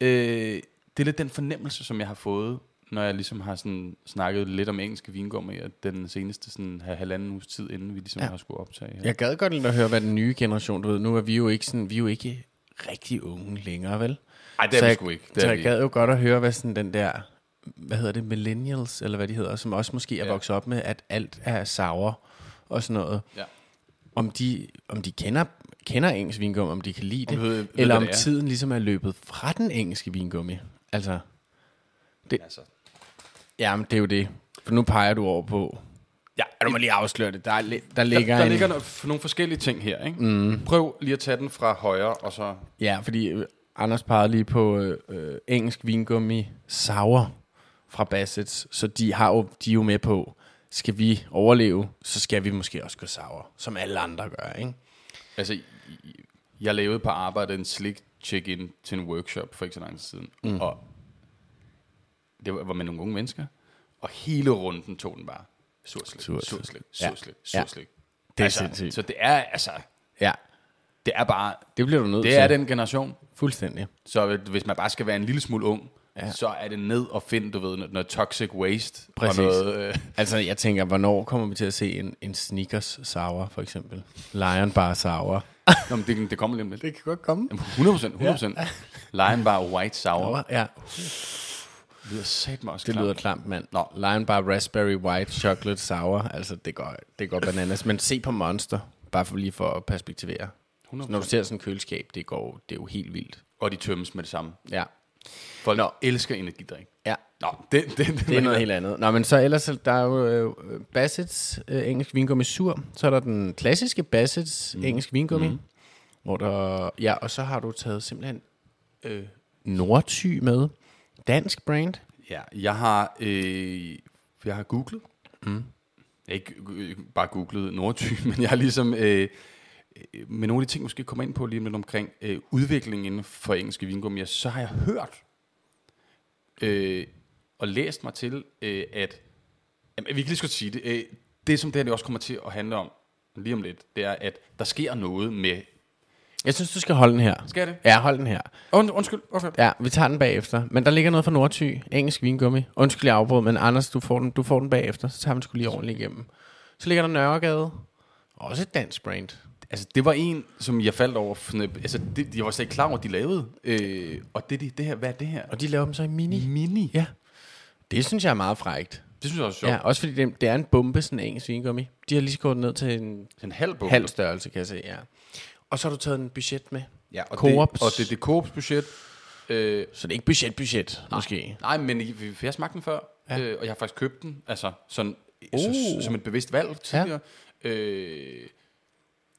øh, det er lidt den fornemmelse, som jeg har fået, når jeg ligesom har sådan snakket lidt om engelske vingummi, at den seneste sådan, her halvanden uges tid, inden vi ligesom ja. har skulle optage her.
Jeg gad godt lidt at høre, hvad den nye generation, du ved, nu er vi jo ikke sådan, vi er jo ikke rigtig unge længere, vel?
Ej, det er
Så
vi
jeg-
sgu ikke. Det er
Så
vi
jeg
ikke.
gad jo godt at høre, hvad sådan den der, hvad hedder det, millennials, eller hvad de hedder, som også måske er
Ja.
vokset op med, at alt er sauer og sådan noget.
Ja.
Om de, om de kender, kender engelsk vingummi, om de kan lide det,
de ved- ved,
eller
hvad
om
det er.
tiden ligesom er løbet fra den engelske vingummi. Altså,
Altså,
jamen det er jo det. For nu peger du over på,
ja,
ja, du må lige afsløre det, der, er, li- der
der,
ligger
der
en...
ligger no- f- nogle forskellige ting her, ikke? Mm. Prøv lige at tage den fra højre, og så...
Ja, fordi øh, Anders pegede lige på øh, øh, engelsk vingummi Sauer fra Bassets, så de, har jo, de er jo med på, skal vi overleve, så skal vi måske også gå Sauer, som alle andre gør, ikke?
Altså, i- i- jeg lavede på arbejde en slik check-in til en workshop for ikke så lang tid siden, mm. og det var var med nogle unge mennesker, og hele runden tog den bare. Sur slik,
Sur
sur
slik.
slik,
Ja.
sur slik, sur
Ja.
slik.
Det er
altså,
sindssygt.
Så det er, altså,
Ja,
det er bare,
det bliver du nødt til.
det er den generation.
Fuldstændig.
Så hvis man bare skal være en lille smule ung,
Ja.
ja. så er det ned og finde, du ved, noget, noget toxic waste.
Præcis.
Og noget, øh,
Altså, jeg tænker, hvornår kommer vi til at se en, en sneakers sour, for eksempel? Lion bar sour.
nå, men det, det kommer lige om lidt.
Det kan godt komme.
100 procent, 100 procent. Lion Bar White Sour.
Ja,
Det lyder sat mig også
det
klamt.
lyder klamt, mand.
Nå.
Lion bar raspberry white chocolate sour. Altså, det går, det går bananas. Men se på Monster, bare for lige for at perspektivere.
100%.
Når du ser sådan et køleskab, det, går, det er jo helt vildt.
Og de tømmes med det samme.
Ja.
Folk Nå. elsker energidrik.
Ja,
Nå, det, det, det,
Det er noget helt andet. Nå, men så ellers, så der er jo øh, Bassett's øh, engelsk vingummi sur. Så er der den klassiske Bassett's mm. engelsk vingummi. Mm. Hvor der, ja, og så har du taget simpelthen øh, Nordty med. Dansk brand.
Ja, jeg har, øh, jeg har googlet. Mm. Jeg har ikke øh, bare googlet Nordty, men jeg har ligesom... Øh, øh, med nogle af de ting, måske kommer ind på lige om lidt omkring øh, udviklingen inden for engelske vingummier, så har jeg hørt øh, og læst mig til, øh, at jamen, vi kan lige så godt sige det, øh, det som det her det også kommer til at handle om lige om lidt, det er, at der sker noget med...
Jeg synes, du skal holde den her.
Skal det?
Ja, hold den her.
Und, undskyld, hvorfor?
Ja, vi tager den bagefter. Men der ligger noget fra Nordty. Engelsk vingummi. Undskyld, jeg afbrød, men Anders, du får den, du får den bagefter. Så tager man skulle lige ordentligt igennem. Så ligger der Nørregade. Også et dansk brand.
Altså, det var en, som jeg faldt over. Sådan, øh, altså, det, jeg var slet ikke klar over, at de lavede. Øh, og det, det, det her, hvad er det her?
Og de laver dem så i mini.
Mini.
Ja. Det synes jeg er meget frægt.
Det synes jeg også er sjovt.
Ja,
Ja.
også fordi det, det er en bombe, sådan en engelsk vingummi. De har lige skåret den ned til en
En halv bog.
halv størrelse, kan jeg se, ja. Og så har du taget en budget med.
Ja, og,
Coops.
Det, og det, det er Coops budget. Øh,
Så det er ikke budget, budget, nej. måske.
nej, men I- vi- jeg smagte den før, ja. øh, og jeg har faktisk købt den. Altså, sådan, oh. så, som et bevidst valg tidligere. Ja. Øh,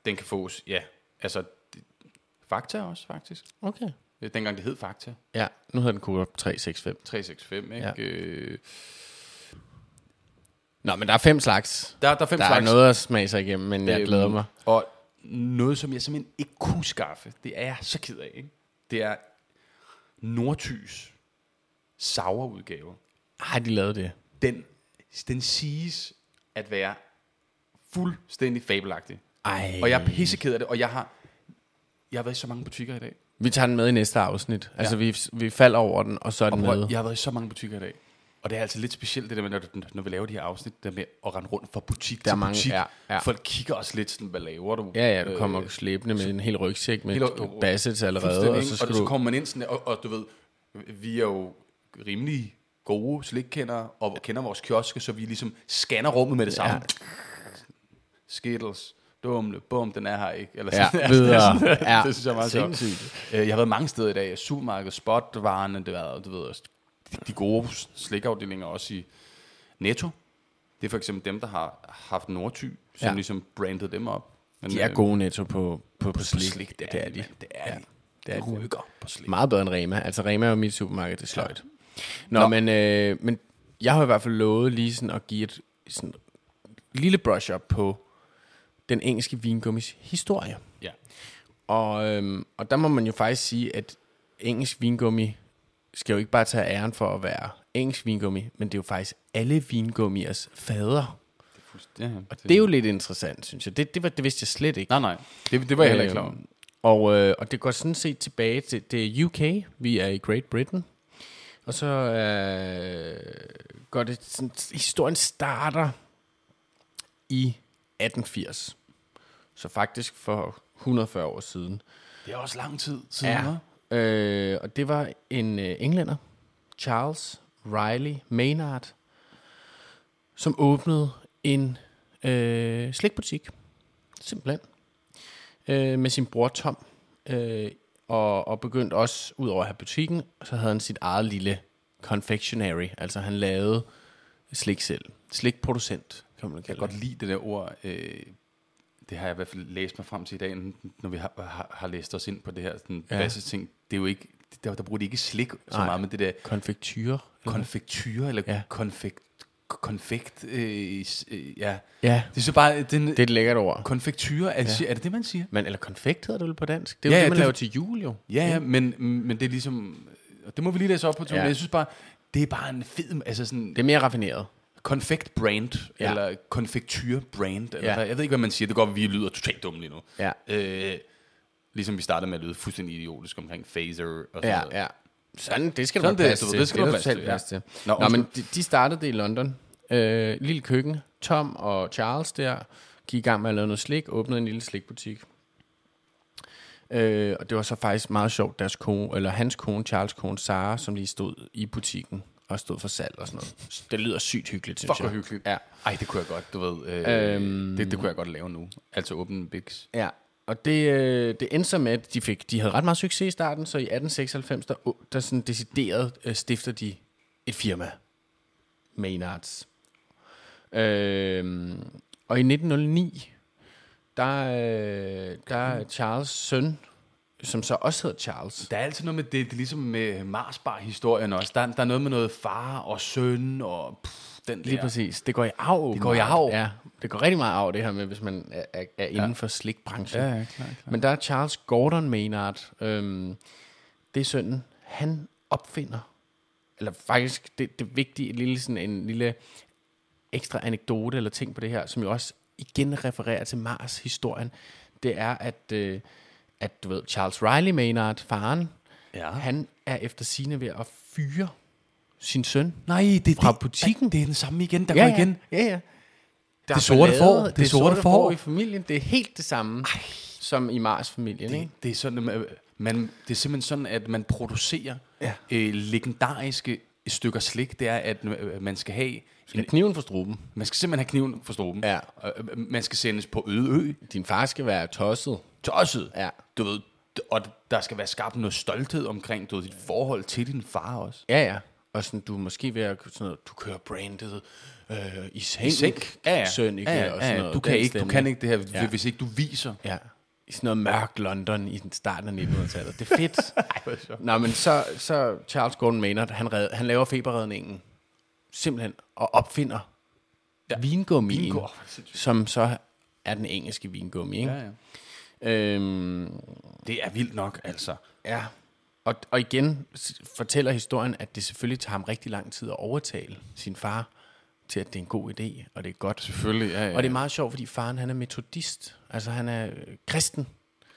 den kan fås, ja. Altså, det, Fakta også, faktisk.
Okay.
Øh, Dengang det hed Fakta.
Ja, nu hedder den Coop 365.
365, ikke?
Ja.
Ja. Øh,
Nå, men der er fem slags.
der, der er fem
Der er
slags.
noget at smage sig igennem, men jeg
Øhm,
glæder mig.
Og noget, som jeg simpelthen ikke kunne skaffe, det er jeg så ked af, ikke? det er Nordtys sauer udgave.
Har de lavet det?
Den, den siges at være fuldstændig fabelagtig.
Ej.
Og jeg er pisseked af det, og jeg har, jeg har været i så mange butikker i dag.
Vi tager den med i næste afsnit. Altså, vi, vi falder over den, og så er den
Prøv,
med.
jeg har været i så mange butikker i dag. Og det er altså lidt specielt, det der med, når, du- når vi laver de her afsnit, der med at rende rundt fra butik
Der er
til
mange-
butik.
ja, ja.
Folk kigger også lidt sådan, hvad laver du? Øh,
Ja, ja, du kommer slæbende med en hel rygsæk med
Helt-
Bassets allerede,
Fuldstændig,
og
ikke?
så
og,
skal
og så
du...
kommer man ind sådan, og, og du ved, vi er jo rimelig gode slikkendere, og kender vores kioske, så vi ligesom scanner rummet med det samme.
Ja.
Ja. Skittles, dumle, bum, den er her ikke. Eller
Ja,
sådan,
videre.
Sådan,
Ja,
det synes jeg er meget sjovt.
sindssygt.
Øh, Jeg har været mange steder i dag, supermarked, spotvarerne, det var, du ved, også de- de gode slikafdelinger også i Netto. Det er for eksempel dem, der har haft Nordty, som
Ja.
ja. ligesom brandede dem op. Men,
De er
øh,
gode netto på, på, på
på
slik.
slik, det er de.
de.
mand. Det er de.
Det er
Det
de.
rykker på slik.
Meget bedre end Rema. Altså Rema er jo mit supermarked, det er sløjt. Nå, Nå. Men, øh, men jeg har i hvert fald lovet lige sådan at give et sådan, lille brush up på den engelske vingummis historie.
Ja.
Og, øhm, og der må man jo faktisk sige, at engelsk vingummi skal jo ikke bare tage æren for at være engelsk vingummi, men det er jo faktisk alle vingummiers fader.
Ja,
Og det er jo lidt interessant, synes jeg. Det, det, var, det vidste jeg slet ikke.
Nej, nej. Øh, Det, det var jeg heller ikke klar over.
Øhm, Og, øh, og det går sådan set tilbage til det er UK. Vi er i Great Britain. Og så øh, går det sådan, historien starter i 1880. Så faktisk for 140 år siden.
Det er også lang tid siden, ja.
Øh, og det var en øh, englænder, Charles Riley Maynard, som åbnede en øh, slikbutik, simpelthen, øh, med sin bror Tom. Øh, og, og begyndte også, ud over at have butikken, så havde han sit eget lille confectionery. Altså han lavede slik selv. Slikproducent, kan man
Jeg
kalde
kan
det.
godt lide det der ord. Øh, det har jeg i hvert fald læst mig frem til i dag, når vi har, har, har læst os ind på det her sådan
Ja.
ja. basis ting. Det er jo ikke, der, der bruger de ikke slik så
Nej.
meget, men det der
Konfektyrer.
konfektyr, eller
Ja.
ja. konfekt, konfekt, øh, s- øh, ja.
Ja,
Det er så bare, den,
det er et lækkert ord.
konfektyr, er, ja. er det det, man siger?
Men, eller konfekt hedder det vel på dansk? Det er jo
Ja,
det,
ja,
man
det-
laver til jul jo.
Ja, ja, men, men det er ligesom, og det må vi lige læse op på,
Ja.
ja. jeg synes bare, det er bare en fed, altså sådan,
Det er mere raffineret.
konfekt brand,
Ja.
ja. eller konfektyr brand, eller
Ja.
ja. jeg ved ikke, hvad man siger. Det går, vi lyder totalt dumme lige nu.
Ja.
Øh, ligesom vi startede med at lyde fuldstændig idiotisk omkring phaser og sådan
Ja,
noget.
ja. Altså, Sådan, det skal
Sådan
du have
det,
plads
du ved,
til.
det skal du
er
have plads
totalt
til,
plads
ja.
til. Nå,
Nå,
Nå men de, de startede det i London. Øh, lille køkken. Tom og Charles der gik i gang med at lave noget slik, åbnede en lille slikbutik. Øh, og det var så faktisk meget sjovt, deres kone, eller hans kone, Charles kone, Sara, som lige stod i butikken og stod for salg og sådan noget. Det lyder sygt hyggeligt, synes
Fuck,
jeg.
hvor hyggeligt.
Ja.
Ej, det kunne jeg godt, du ved. Øh, øhm. det, det kunne jeg godt lave nu. Altså åbne en biks.
Ja, og det, øh, det endte så med, at de, fik, de havde ret meget succes i starten, så i 1896, der, å- der sådan decideret øh, stifter de et firma, Maynards. Øh, og i 1909, der, øh, der er Charles' søn, som så også hedder Charles.
Der er altid noget med det, det er ligesom med Marsbar-historien også. Der, der er noget med noget far og søn og pff, den
Lige ja.
der.
præcis. Det går i arv. Det
går i arv.
Ja, det går rigtig meget arv, det her med, hvis man er, er, er inden ja. for slikbranchen.
Ja, ja, klar, klar.
Men der er Charles Gordon Maynard, øhm, det er sønnen, han opfinder, eller faktisk det, det vigtige, et lille, sådan en lille ekstra anekdote eller ting på det her, som jo også igen refererer til Mars-historien, det er, at, øh, at du ved, Charles Riley Maynard, faren,
Ja.
han er efter sine ved at fyre sin søn
Nej, det, det,
Fra butikken.
Det er den samme igen, der
Ja,
går
ja.
igen.
Ja, ja. Der
Det sorte får.
Det,
Det
det sorte,
sorte
får
får.
i familien. Det er helt det samme Ej. som i Mars-familien. Ikke?
Det er, sådan, at man, det er simpelthen sådan, at man producerer
Ja.
ja. øh, legendariske stykker slik. Det er, at øh, man skal have... En,
Skal kniven for struben.
man skal simpelthen have kniven for struben.
Ja.
Og, øh, man skal sendes på øde ø.
Din far skal være tosset.
Tosset.
Ja.
Du ved, og der skal være skabt noget stolthed omkring du ved, dit forhold til din far også.
Ja, ja. Og sådan, du er måske ved at sådan noget, du kører brandet øh, i seng. I
Ja, ja.
Søn, ikke?
Ja, ja,
Og sådan
ja.
noget.
Du, kan
Den
ikke, du
stemning.
kan ikke det her,
Ja.
ja. hvis ikke du viser.
Ja. I sådan noget mørk London i den starten af 1900-tallet. Det er fedt.
hvor er det sjovt.
Nå, men så, så Charles Gordon Maynard, han, red, han laver feberredningen. Simpelthen. Og opfinder ja. vingummien.
Vingummi, hvor er det sindssygt.
Som så er den engelske vingummi, ikke?
Ja, ja.
Ja. Øhm,
Det er vildt nok, altså.
ja. Og, og igen s- fortæller historien, at det selvfølgelig tager ham rigtig lang tid at overtale sin far til, at det er en god idé, og det er godt.
Selvfølgelig, ja, ja.
Og det er meget sjovt, fordi faren han er metodist. Altså han er øh, kristen.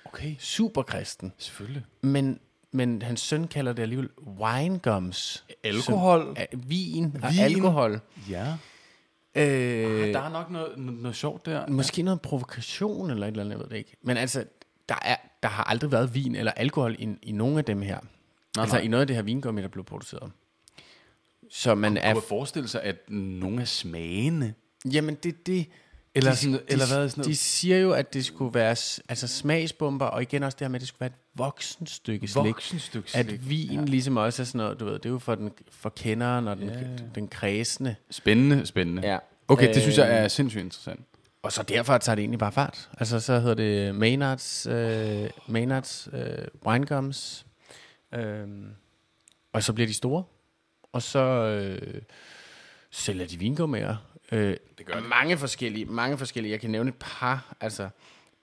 Okay,
Superkristen.
selvfølgelig.
Men, men hans søn kalder det alligevel winegums.
Alkohol.
Som, uh, vin og
Vin.
alkohol.
Ja.
Øh,
Ah, Der er nok noget, noget, noget sjovt der.
måske noget provokation eller et eller andet, jeg ved det ikke. Men altså, der, er, der har aldrig været vin eller alkohol i, i nogen af dem her. Nej, altså
nej.
i noget af det her vingummi, der blev produceret. Så man
Man
er...
kunne forestille sig, at nogle af smagene...
Jamen det er det...
Eller sådan-
de,
eller hvad er
de,
sådan noget?
de siger jo, at det skulle være s- altså smagsbomber, og igen også det her med, at det skulle være et voksen stykke slik.
Voksenstykke
At vin ja. ligesom også er sådan noget, du ved, det er jo for, den, for kenderen og den, ja. den kredsende.
Spændende, spændende.
Ja.
Okay, det synes
Øh,
jeg er sindssygt interessant.
Og så derfor tager det egentlig bare fart. Altså, så hedder det Maynards, øh, Maynards øh, Winegums. Øh, og så bliver de store. Og så øh, sælger de vingummier. Øh, det gør mange forskellige, mange forskellige. Jeg kan nævne et par. Altså,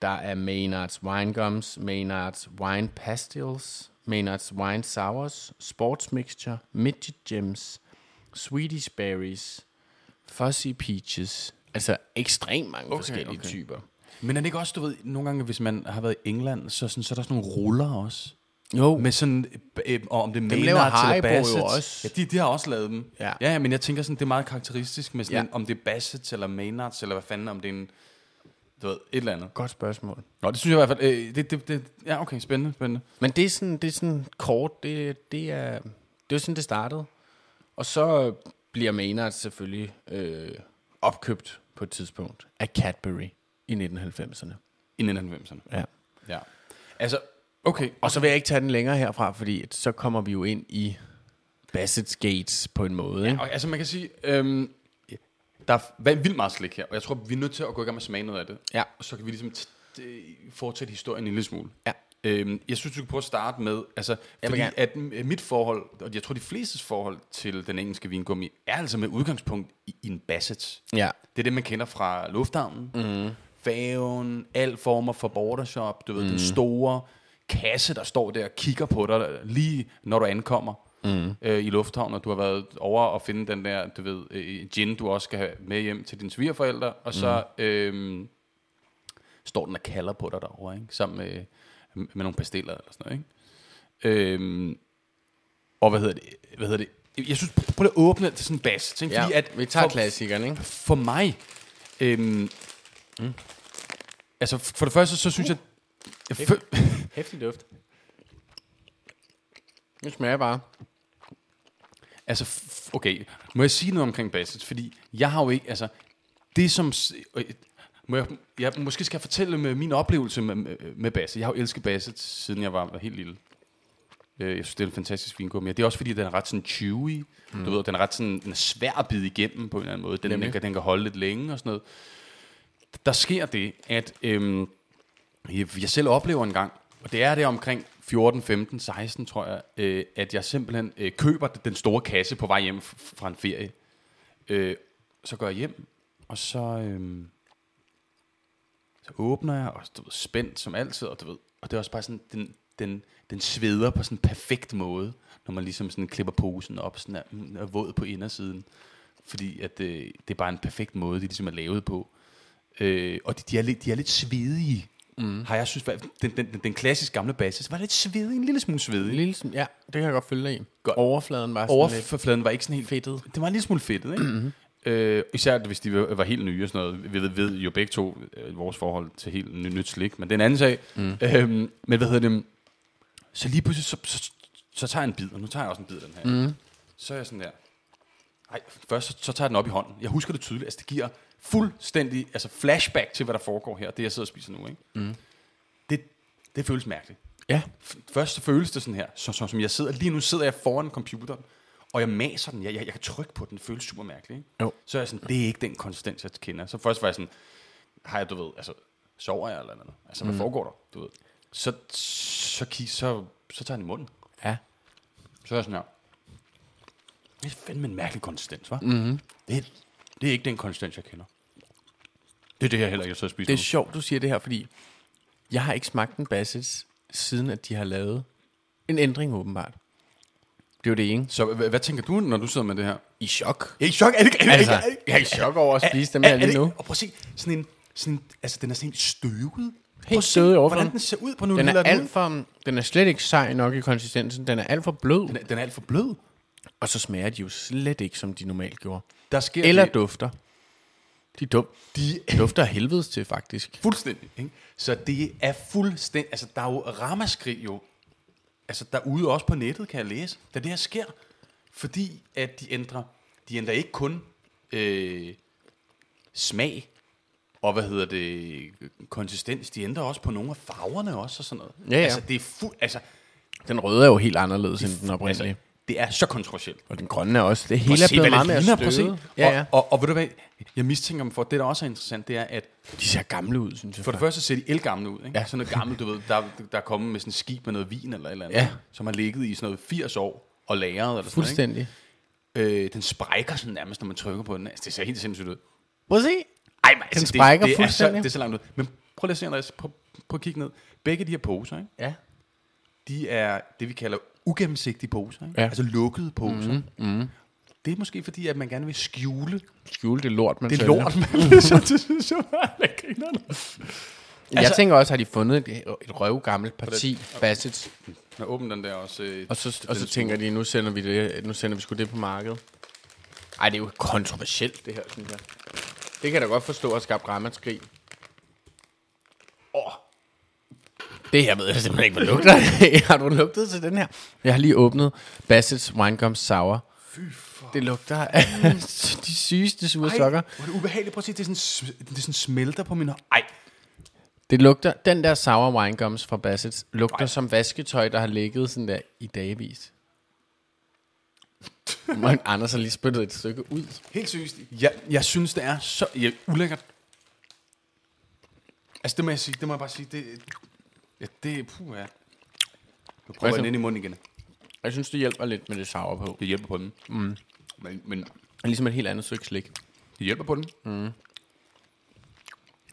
der er Maynards Winegums, Maynards Wine Pastilles, Maynards Wine Sours, Sports Mixture, Midget Gems, Swedish Berries, Fuzzy Peaches. Altså ekstremt mange okay, forskellige okay.
okay.
typer.
Men er det ikke også, du ved, nogle gange, hvis man har været i England, så, sådan, så er der sådan nogle ruller også?
Jo.
Med sådan, øh, og om det er
Dem
Maynards
laver
eller
Haribo jo
Bassets.
også.
Ja, de, de har også lavet dem.
Ja.
ja, men jeg tænker sådan, det er meget karakteristisk med sådan,
Ja.
en, om det er Bassets eller Maynards, eller hvad fanden, om det er en, du ved, et eller andet.
Godt spørgsmål.
Nå, det synes jeg i hvert fald, øh, det, det, det, ja, okay, spændende, spændende.
Men det er sådan, det er sådan kort, det, det, er, det er sådan, det startede. Og så bliver Maynard selvfølgelig øh, opkøbt på et tidspunkt af Cadbury i 1990'erne.
I 1990'erne.
Ja.
Ja. Altså, okay.
Og så vil jeg ikke tage den længere herfra, fordi at så kommer vi jo ind i Bassett's Gates på en måde. Ja,
Og, altså, man kan sige, øhm, der er været vildt meget slik her, og jeg tror, vi er nødt til at gå i gang med at smage noget af det.
Ja.
Og så kan vi ligesom t- øh, fortsætte historien en lille smule.
Ja.
Øhm, jeg synes, du kan prøve at starte med, altså, fordi
gerne.
at øh, mit forhold, og jeg tror, de flestes forhold til den engelske vingummi, er altså med udgangspunkt i, i en Bassett's.
ja.
Det er det, man kender fra lufthavnen.
Mhm.
Mm. Færgen, al former for
Mhm.
bordershop, du ved, mm. den store kasse, der står der og kigger på dig, lige når du ankommer.
Mhm.
mm. øh, i lufthavnen, og du har været over og finde den der, du ved, øh, gin, du også skal have med hjem til dine svigerforældre, og så
Mhm.
mm. øh, står den og kalder på dig derovre, ikke? sammen med, med nogle pastiller eller sådan noget. Ikke? Øh, og hvad hedder det? Hvad hedder det? Jeg synes, prøv lige at åbne til sådan en bas, ting,
Ja,
fordi at
vi tager
for-
klassikeren, ikke?
for mig, øhm, mm. altså for det første, så synes jeg, jeg fø-
Hæftig duft. Det smager bare.
altså, f- okay, må jeg sige noget omkring Bassett? Fordi jeg har jo ikke, altså, det som, s- øh, må jeg, jeg, måske skal jeg fortælle med min oplevelse med, med, med Bassett. Jeg har jo elsket Bassett, siden jeg var helt lille. Øh, Jeg synes, det er en fantastisk vingummi. Og det er også, fordi den er ret sådan chewy. Mm. Du ved, den er ret sådan, den er svær at bide igennem på en eller anden måde. Den, den, kan, den kan holde lidt længe og sådan noget. Der sker det, at øhm, jeg jeg selv oplever en gang, og det er det omkring 14, 15, 16, tror jeg, øh, at jeg simpelthen øh, køber den store kasse på vej hjem f- fra en ferie. Øh, så går jeg hjem, og så... Øh, så åbner jeg, og du ved, spændt som altid, og du ved, og det er også bare sådan, den, den, den sveder på sådan en perfekt måde, når man ligesom sådan klipper posen op, sådan er, mm, er våd på indersiden, fordi at, øh, det er bare en perfekt måde, de ligesom er lavet på. Øh, og de, de, er lidt, de er lidt svedige, mm. har jeg synes, hvad- den, den, den, den klassisk gamle basis var lidt svedig, en lille smule
En
svedig.
lille, sm- ja, det kan jeg godt følge dig i.
Godt.
Overfladen var sådan lidt.
Overfladen var ikke sådan helt
Fedtet.
Det var en lille smule fedtet, ikke? Mm-hmm. Øh, især hvis de var var helt nye og sådan noget. Vi ved, ved jo begge to øh, vores forhold til helt ny, nyt slik, men det er en anden sag. Mm. Øhm, men hvad hedder det? Så lige pludselig, så, så, så tager jeg en bid, og nu tager jeg også en bid af den her. Mm. Så er jeg sådan der. Ej, først så, så tager jeg den op i hånden. Jeg husker det tydeligt. Altså, det giver fuldstændig altså flashback til, hvad der foregår her. Det, jeg sidder og spiser nu, ikke? Mm. Det, det føles mærkeligt
Ja.
f- først så føles det sådan her, så, så, som jeg sidder, lige nu sidder jeg foran computeren, og jeg maser den, jeg, jeg, jeg kan trykke på den, det føles super mærkeligt. Ikke?
Jo.
Så er jeg sådan, det er ikke den konsistens, jeg kender. Så først var jeg sådan, har jeg, du ved, altså, sover jeg eller noget? Altså,
Mm.
hvad foregår der, du ved? Så, så, så, så, så tager jeg den i munden.
Ja.
Så er jeg sådan her. Det er fandme en mærkelig konsistens, hva'? Mm-hmm. Det, er- det er ikke den konsistens, jeg kender. Det er det, jeg heller ikke har siddet og spist
Det er sjovt, du siger det her, fordi jeg har ikke smagt en Bassets, siden at de har lavet en ændring åbenbart. Det er jo det ene.
Så hvad, hvad tænker du, når du sidder med det her?
I chok.
Jeg er i chok. Er det, er det,
Altså,
er det, er det,
jeg er i chok over at
Er-
spise dem
er-
her
er
lige
det-
nu.
Og prøv at se, sådan en, sådan, en- altså den er sådan helt støvet. Prøv
Helt
at se,
støvet i overfladen.
Hvordan den ser ud på nu.
Den er,
lille
alt for, den er slet ikke sej nok i konsistensen. Den er alt for blød.
den, er, den er alt for blød.
Og så smager de jo slet ikke, som de normalt gjorde.
Der sker
Eller
det,
dufter. De, dum, de dufter af helvedes til, faktisk.
fuldstændig. Ikke? Så det er fuldstændig, altså der er jo ramaskrig jo, altså derude også på nettet, kan jeg læse, da det her sker. Fordi at de ændrer, de ændrer ikke kun øh, smag, og hvad hedder det, konsistens, de ændrer også på nogle af farverne også og sådan noget.
Ja, ja.
Altså det er fuld, altså,
Den røde er jo helt anderledes end den oprindelige.
altså det er så kontroversielt.
og den grønne er også. Det
Prøv
hele er
at se,
blevet
hvad
meget
det
mere
ligner. Prøv at se.
støvet. Ja, ja.
Og, og, og ved du hvad, jeg mistænker dem for, det der også er interessant, det er, at
De ser gamle ud, synes jeg.
for det første ser de elgamle ud. Ikke?
Ja.
Ja. Sådan noget gammelt, du ved, der, der er kommet med sådan en skib med noget vin eller et eller andet,
Ja.
som har ligget i sådan noget 80 år og lagret. Eller Sådan,
Fuldstændig.
noget, ikke? øh, den sprækker sådan nærmest, når man trykker på den. Altså, det ser helt sindssygt ud.
Prøv at se.
Ej, men, altså,
Den sprækker
det, det er, så,
fuldstændig.
det er så langt ud. Men prøv lige at se, Andreas, prøv, prøv at kigge ned. Begge de her poser, ikke?
Ja.
de er det, vi kalder ugennemsigtige poser. Ikke?
Ja.
Ja. Altså lukkede poser. Mm-hmm. Det er måske fordi, at man gerne vil skjule
Skjule det lort, man
det
sælger.
lort, man så det synes jeg bare, der griner
Jeg tænker også, har de fundet et, et røvgammelt parti, Bassets,
Nå, åbn den der også. Øh,
og så, og så tænker de, nu sender vi det, nu sender vi sgu det på markedet. Ej, det er jo kontroversielt, det her, synes jeg. Det kan jeg da godt forstå at skabe ramaskrig. Åh. Det her ved jeg simpelthen ikke, hvad lugter. af. har du lugtet til den her? Jeg har lige åbnet Bassets Winegum Sour. Fy for... Det lugter af de sygeste sure
Ej,
sokker.
Hvor er det ubehageligt. Prøv at se, det er sådan, sm- det er sådan smelter på min hånd. Ej,
Det lugter, den der sour winegums fra Bassets, lugter Ej. som vasketøj, der har ligget sådan der i dagevis. Man, Anders har lige spyttet et stykke ud.
helt sygt. Jeg, jeg synes, det er så ja, ulækkert. Altså, det må jeg sige. Det må jeg bare sige. Det, ja, det puh, ja. Nu prøver jeg den ind i munden igen.
Jeg synes, det hjælper lidt med det sour på.
Det hjælper på den. Mm. Men, men
Det er ligesom et helt andet stykke slik.
det hjælper på den. Mm.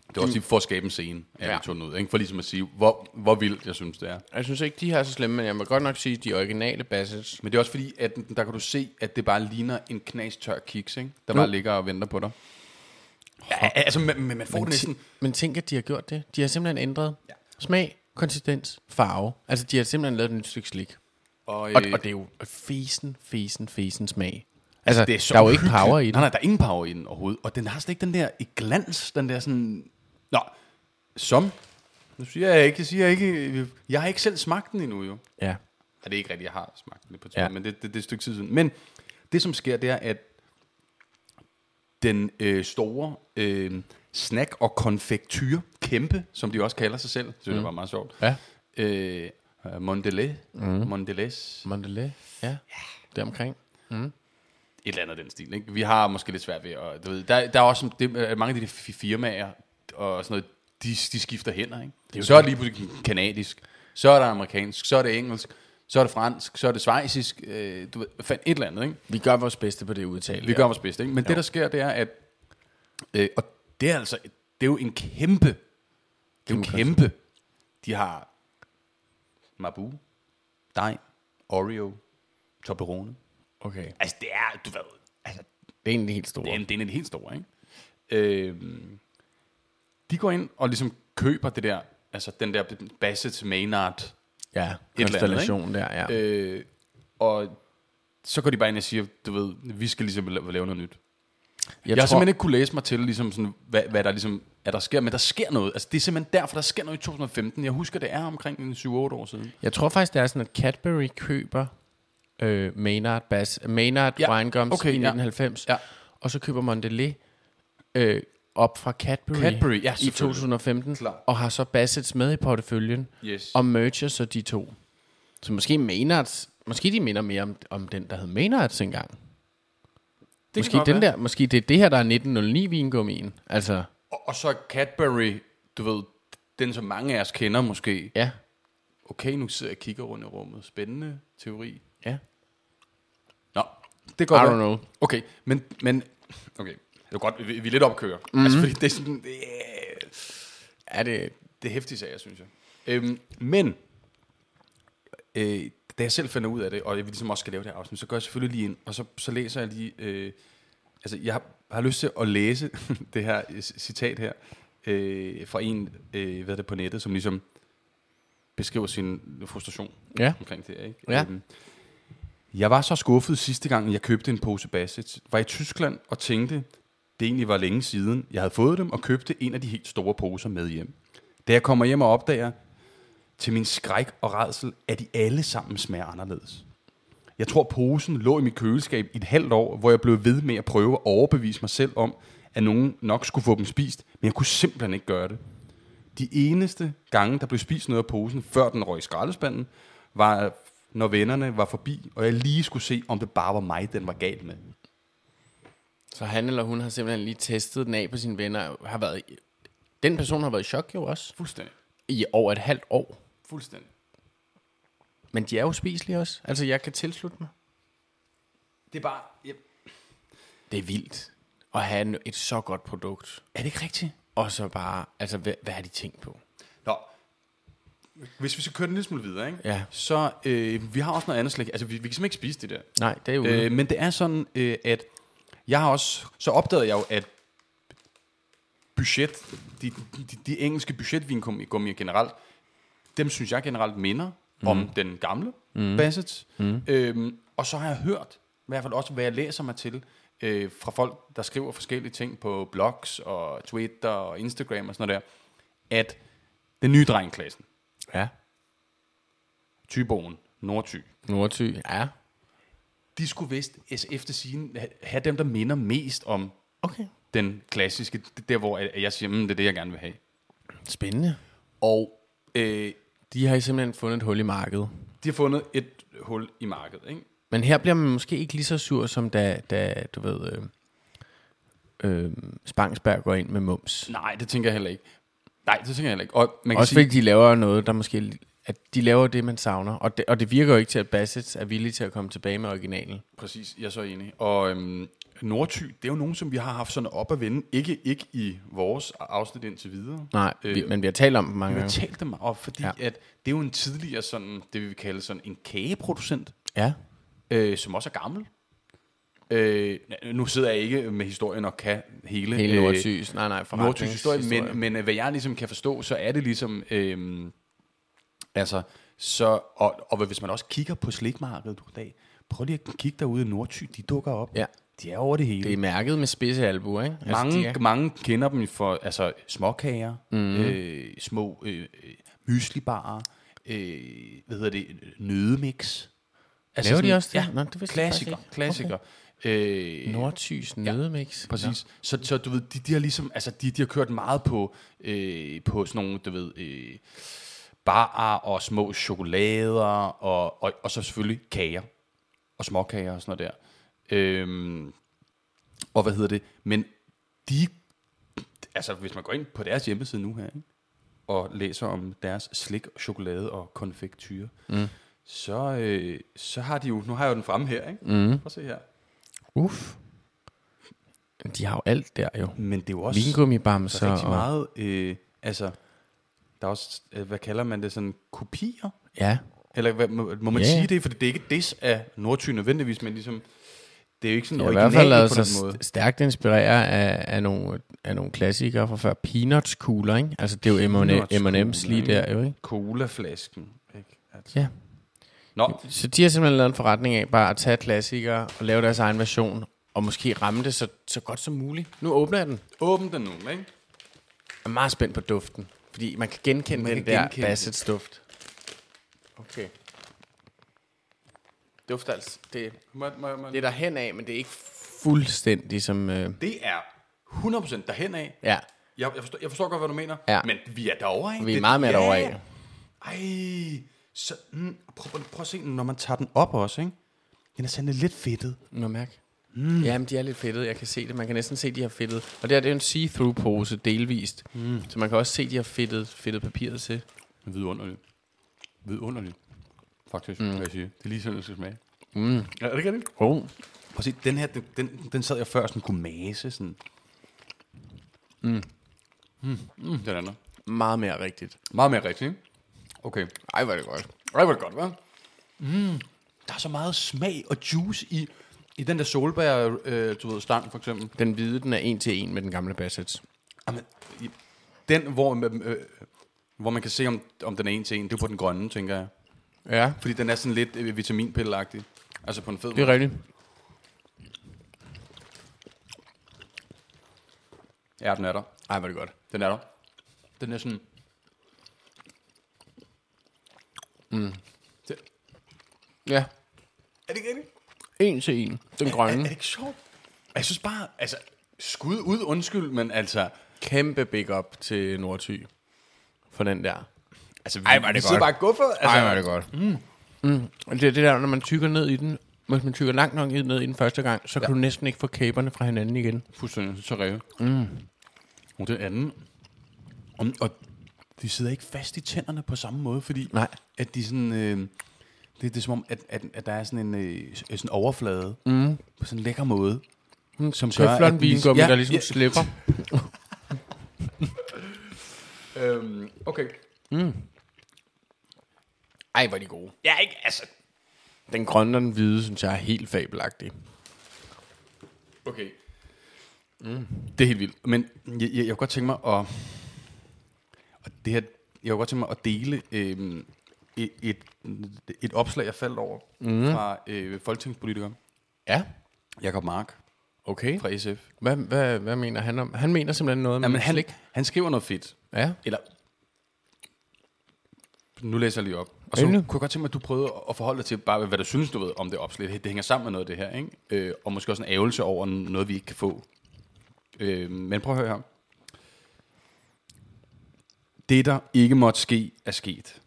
Det er også lige for at skabe en scene, at ja.
Ja.
jeg tog den ud. Ikke? For ligesom at sige, hvor, hvor vildt jeg synes, det er.
Jeg synes ikke, de her er så slemme, men jeg må godt nok sige, at de originale bassets...
Men det er også fordi, at den- der kan du se, at det bare ligner en knastør kiks, ikke? der bare ligger og venter på dig. Ja, altså, man, man
Oh,
får det næsten...
Men tænk, at de har gjort det. De har simpelthen ændret ja. smag, konsistens, farve. Altså, de har simpelthen lavet et nyt stykke slik.
Og,
Og,
øh,
og det er jo fesen, fesen, fesen smag. Altså,
det
det
er
er
så
der er jo ikke
uhyggeligt.
power i det.
Nej, nej, der er ingen power i den overhovedet. Og den har slet ikke den der i glans, den der sådan... Nå, som... Nu siger jeg ikke, jeg siger ikke... Jeg har ikke selv smagt den endnu, jo.
Ja.
Ja, det er ikke rigtigt, jeg har smagt den lidt på tid, ja.
Ja.
men det, det, det er et stykke tid siden. Men det, som sker, det er, at den øh, store øh, snack- og konfektyr, kæmpe, som de også kalder sig selv, det synes jeg var meget sjovt,
Ja.
øh, Mondelez, mm. Mondelez,
Mondelez. Ja. Det omkring.
et eller andet af den stil. Ikke? Vi har måske lidt svært ved at... Du ved, der, der er også det, at mange af de der fi- firmaer og sådan noget, de, de skifter hænder. Ikke? Det er jo så er det lige pludselig kanadisk, så er det amerikansk, så er det engelsk, så er det fransk, så er det svejsisk, øh, du ved, fandt et eller andet. Ikke?
Vi gør vores bedste på det udtale.
Vi gør vores bedste. Ikke? Men jo. det, der sker, det er, at... Øh, og det er altså... Det er jo en kæmpe... Det er jo en kæmpe. De har Mabu, dej, Oreo, Toblerone.
Okay. Det
Altså, det er, du ved... Altså,
er egentlig helt stort.
det er, en, det er en helt stor, ikke? Øhm, de går ind og ligesom køber det der, altså den der Bassett Maynard,
Ja.
andet, ikke?
Konstellation der, ja.
øh, og så går de bare ind og siger, du ved, vi skal ligesom la- lave noget nyt. Jeg, jeg har simpelthen ikke kunne læse mig til, ligesom sådan, hvad, hvad der ligesom, at der sker, men der sker noget. Altså, det er simpelthen derfor, der sker noget i 2015. Jeg husker, det er omkring en 7-8 år siden.
Jeg tror faktisk, det er sådan, at Cadbury køber øh, Maynard, Bass, Maynard
Ja,
ja, Winegums
okay,
okay, i
ja.
1990,
Ja.
og så køber Mondelez øh, op fra Cadbury,
Cadbury, ja,
i
selvfølgelig.
2015,
Klar.
og har så Bassets med i porteføljen,
Yes.
og merger så de to. Så måske Maynards, måske de minder mere om, om den, der hed Maynards engang.
kan
måske,
godt
den
være.
der, måske det er det her, der er 1909-vingummien. Altså,
Og, og så Cadbury, du ved, den som mange af os kender måske.
ja.
Okay, nu sidder jeg og kigger rundt i rummet. Spændende teori.
ja.
Nå, det
I
går
don't know.
Okay, men, men okay. Det er godt, vi, vi er lidt opkører.
Mhm.
Mm-hmm. Altså, fordi det er sådan, det er,
Er det...
det er hæftige sager, synes jeg. Øhm, men, øh, da jeg selv finder ud af det, og jeg ligesom også skal lave det her afsnit, så går jeg selvfølgelig lige ind, og så, så læser jeg lige, øh, altså jeg har, har lyst til at læse det her øh, citat her, øh, fra en, øh, hvad er det på nettet, som ligesom beskriver sin frustration
Ja.
omkring det, ikke?
Ja.
Øhm, Jeg var så skuffet sidste gang, jeg købte en pose Bassets. Var i Tyskland og tænkte, det egentlig var længe siden, jeg havde fået dem og købte en af de helt store poser med hjem. Da jeg kommer hjem og opdager, til min skræk og redsel, at de alle sammen smager anderledes. Jeg tror, posen lå i mit køleskab i et halvt år, hvor jeg blev ved med at prøve at overbevise mig selv om, at nogen nok skulle få dem spist, men jeg kunne simpelthen ikke gøre det. De eneste gange, der blev spist noget af posen, før den røg i skraldespanden, var, når vennerne var forbi, og jeg lige skulle se, om det bare var mig, den var galt med.
Så han eller hun har simpelthen lige testet den af på sine venner. og Har været i, den person har været i chok jo også.
Fuldstændig.
I over et halvt år.
Fuldstændig.
Men de er jo spiselige også. Altså, jeg kan tilslutte mig.
Det er bare... Ja.
Det er vildt at have en- et så godt produkt.
Er det ikke rigtigt?
Og så bare, altså, hvad, hvad har de tænkt på?
Nå. Hvis vi så kører den lidt smule videre, ikke?
Ja.
så øh, vi har også noget andet slik. Altså, vi, vi kan simpelthen ikke spise det der.
Nej, det er jo...
Øh, men det er sådan, øh, at jeg har også, så opdagede jeg jo, at budget, de, de, de engelske budgetvinkogummier generelt, dem synes jeg generelt minder mm. om den gamle mm. Bassets. Mm. Øhm, og så har jeg hørt, i hvert fald også, hvad jeg læser mig til, øh, fra folk, der skriver forskellige ting på blogs og Twitter og Instagram og sådan noget der, at den nye drengklassen,
ja.
Tyboen, Nordty,
Nordty, ja.
de skulle vist efter sin have dem, der minder mest om
Okay.
den klassiske, det- der hvor at jeg siger, mm, det er det, jeg gerne vil have.
Spændende.
Og øh,
De har simpelthen fundet et hul i markedet.
de har fundet et hul i markedet, ikke?
Men her bliver man måske ikke lige så sur, som da, da du ved, øh, øh, Spangsberg går ind med mums.
Nej, det tænker jeg heller ikke. Nej, det tænker jeg heller ikke. Og man kan
Også
sige,
fordi de laver noget, der måske at de laver det, man savner. Og det, og det virker jo ikke til, at Bassett er villig til at komme tilbage med originalen.
Præcis, jeg er så enig. Og øhm, Nordty, det er jo nogen, som vi har haft sådan op at vende. Ikke, ikke i vores afsnit indtil videre.
Nej, øh, vi, men vi har talt om dem mange
Vi har
gange.
talt dem op, fordi ja.
Ja.
at det er jo en tidligere sådan, det vi vil kalde sådan en kageproducent,
Ja.
øh, som også er gammel. Øh, nu sidder jeg ikke med historien og kan hele,
Hele øh, Nordsys. Nej, nej,
øh, Nordtysk historie,
forretningshistorie.
men, men øh, hvad jeg ligesom kan forstå, så er det ligesom, øh, altså, så, og, og hvis man også kigger på slikmarkedet i dag, prøv lige at kigge derude i Nordty, de dukker op.
Ja.
De er over det hele.
Det er mærket med spidse albuer, ikke? Altså,
Mange,
de
altså,
er-
mange kender dem for altså, småkager, mm. øh, små øh, øh, myslibarer, øh, hvad hedder det, nødemix. Altså
Laver de også det?
Ja,
Nå, det vidste jeg
klassiker,
faktisk ikke.
klassiker. Okay. Øh,
Nordtys nødemix. Ja,
Præcis. Ja. Så, så du ved, de, de har ligesom, altså de, de har kørt meget på, øh, på sådan nogle, du ved, øh, barer og små chokolader, og, og, og så selvfølgelig kager, og småkager og sådan noget der. Øhm, og hvad hedder det? Men de, altså hvis man går ind på deres hjemmeside nu her, ikke? og læser om deres slik, chokolade og konfektyr, mm. så, øh, så har de jo, nu har jeg jo den fremme her, ikke? Mm. Prøv at se her.
Uff. De har jo alt der jo.
Men det er jo også... Der
Vingummibamser.
er rigtig
og-
meget, øh, altså, der er også, øh, hvad kalder man det, sådan kopier?
Ja.
Eller hvad, må, må man
Ja,
yeah. sige
ja.
det? Fordi det er ikke des af Nordtyn nødvendigvis, men ligesom, det er jo ikke sådan
De har i hvert fald altså
originalt på
lavet sig
den måde.
st- stærkt inspireret af, af, nogle, af nogle klassikere fra før. Peanuts-kugler, ikke? Altså, det er jo
Peanuts-kugler,
M&M- M&M's lige
ikke?
der jo, ikke?
Colaflasken, ikke? Altså.
Ja.
Nå,
Så de har simpelthen lavet en forretning af bare at tage klassikere og lave deres egen version, og måske ramme det så, så godt som muligt. Nu åbner jeg den.
åbn den nu, ikke?
Jeg er meget spændt på duften, fordi man kan genkende
Man
den
kan
der
genkende den.
Bassets duft. Okay. Dufter altså, det,
Må, må, må.
det er der hen af, men det er ikke fuldstændig som... Øh,
Det er 100% derhen af.
ja,
Jeg, jeg, forstår, jeg forstår godt, hvad du mener,
Ja.
men vi er derovre, ikke?
Vi er meget mere derovre af.
Ej, så, mm, prøv, prøv, prøv at se den, når man tager den op også, ikke? Den er sådan lidt fedtet.
må mærke. Mm. Jamen, de er lidt fedtede. Jeg kan se det. Man kan næsten se, de har fedtet. Og det her, det er jo en see-through-pose delvist. Mm. Så man kan også se, de har fedtet, fedtet papiret til.
Vidunderligt. Vidunderligt. Faktisk, mm. vil jeg sige. Det er lige sådan, det skal smage. Mm. Ja, er det ikke det?
Oh.
Prøv at se, den her, den, den, den sad jeg før sådan kunne mase sådan. Mm. Mm. Mm, den anden.
Meget mere rigtigt.
Meget mere rigtig, ikke? Okay.
Ej, hvor er det godt.
Ej, hvor er det godt, hva'? Mm. Der er så meget smag og juice i, i den der solbær, øh, du ved, stang for eksempel.
Den hvide, den er en til en med den gamle Bassets.
Jamen, i- den, hvor, øh, øh, hvor man kan se, om, om den er en til en, det er på den grønne, tænker jeg.
Ja,
Fordi den er sådan lidt øh, vitaminpilleagtig. Altså på en fed
det er rigtigt.
Ja, den er der.
Ej, hvor er det godt.
Den er der. Den er sådan... Mm. Det,
Ja,
er det ikke rigtigt?
Mm. en til en. Den
Er, er
grønne.
det ikke sjovt? Jeg synes bare, altså... Skud ud, undskyld, men altså...
Kæmpe big up til Nordty. For den der.
altså vi,
Ej, hvor er det
vi sidder
godt.
bare og guffer. Altså,
Ej, hvor er det godt. Mm. Mm. Og Det er det der, når man tykker ned i den, hvis man tykker langt nok ned i den første gang, så ja. kan du næsten ikke få kæberne fra hinanden igen.
Fuldstændig, så ræve. Mm. Og den anden... Og, og de sidder ikke fast i tænderne på samme måde, fordi...
Nej.
At de sådan... Øh, det, det er som om, at, at, at der er sådan en øh, s- sådan overflade. Mm. På sådan en lækker måde. Som
Så er flot en
vi-
Hmm, vingummi,
Ja,
der ligesom
ja.
slipper.
Øhm, okay.
Ej, hvor er de gode.
Ja, ikke, altså...
Den grønne og den hvide, synes jeg er helt fabelagtig.
Okay. Mm. Det er helt vildt. Men jeg, jeg, jeg kunne godt tænke mig at... Og det her, jeg kunne godt tænke mig at dele øhm, et, et, et opslag, jeg faldt over mm. fra øh, folketingspolitiker
Ja,
Jakob Mark
okay.
fra SF.
Hvad, hvad, hvad mener han om? Han mener simpelthen noget om
Jamen, han, han skriver noget fedt.
Ja.
Eller... Nu læser jeg lige op. Og så
Endelig.
kunne jeg godt tænke mig, at du prøvede at- at forholde dig til, bare hvad du synes, du ved om det opslag. Det det hænger sammen med noget af det her, ikke? Øh, og måske også en ævelse over noget, vi ikke kan få. Øh, men prøv at høre her. Det, der ikke måtte ske, er sket.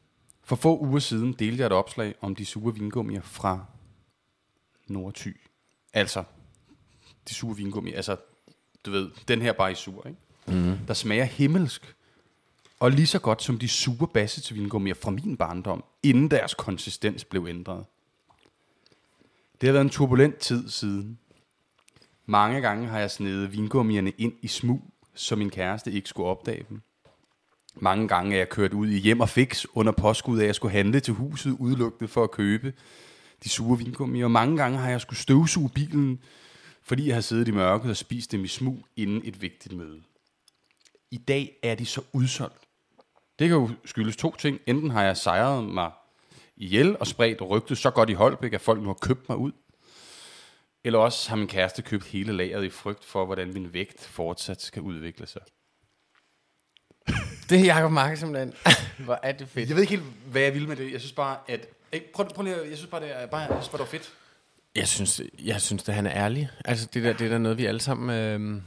For få uger siden delte jeg et opslag om de sure vingummier fra Nordty. Altså, de sure vingummi, altså, du ved, den her bare i sur, ikke? Mm. Der smager himmelsk. Og lige så godt som de sure bassetvinkummier fra min barndom, inden deres konsistens blev ændret. Det har været en turbulent tid siden. Mange gange har jeg snedet vingummierne ind i smug, så min kæreste ikke skulle opdage dem. Mange gange er jeg kørt ud i hjem og fix under påskud af, at jeg skulle handle til huset udelukkende for at købe de sure vingummier. Og mange gange har jeg skulle støvsuge bilen, fordi jeg har siddet i mørket og spist dem i smug inden et vigtigt møde. I dag er de så udsolgt. Det kan jo skyldes to ting. Enten har jeg sejret mig ihjel og spredt rygtet så godt i Holbæk, at folk nu har købt mig ud. Eller også har min kæreste købt hele lageret i frygt for, hvordan min vægt fortsat skal udvikle sig.
Det er Jacob Mark simpelthen. Hvor er det fedt.
Jeg ved ikke helt, hvad jeg vil med det. Jeg synes bare, at... Ey, prøv, prøv lige, at- jeg synes bare, det er, bare, jeg synes bare, det var fedt.
Jeg synes, jeg synes at han er ærlig. Altså, det der, det er der noget, vi alle sammen øh,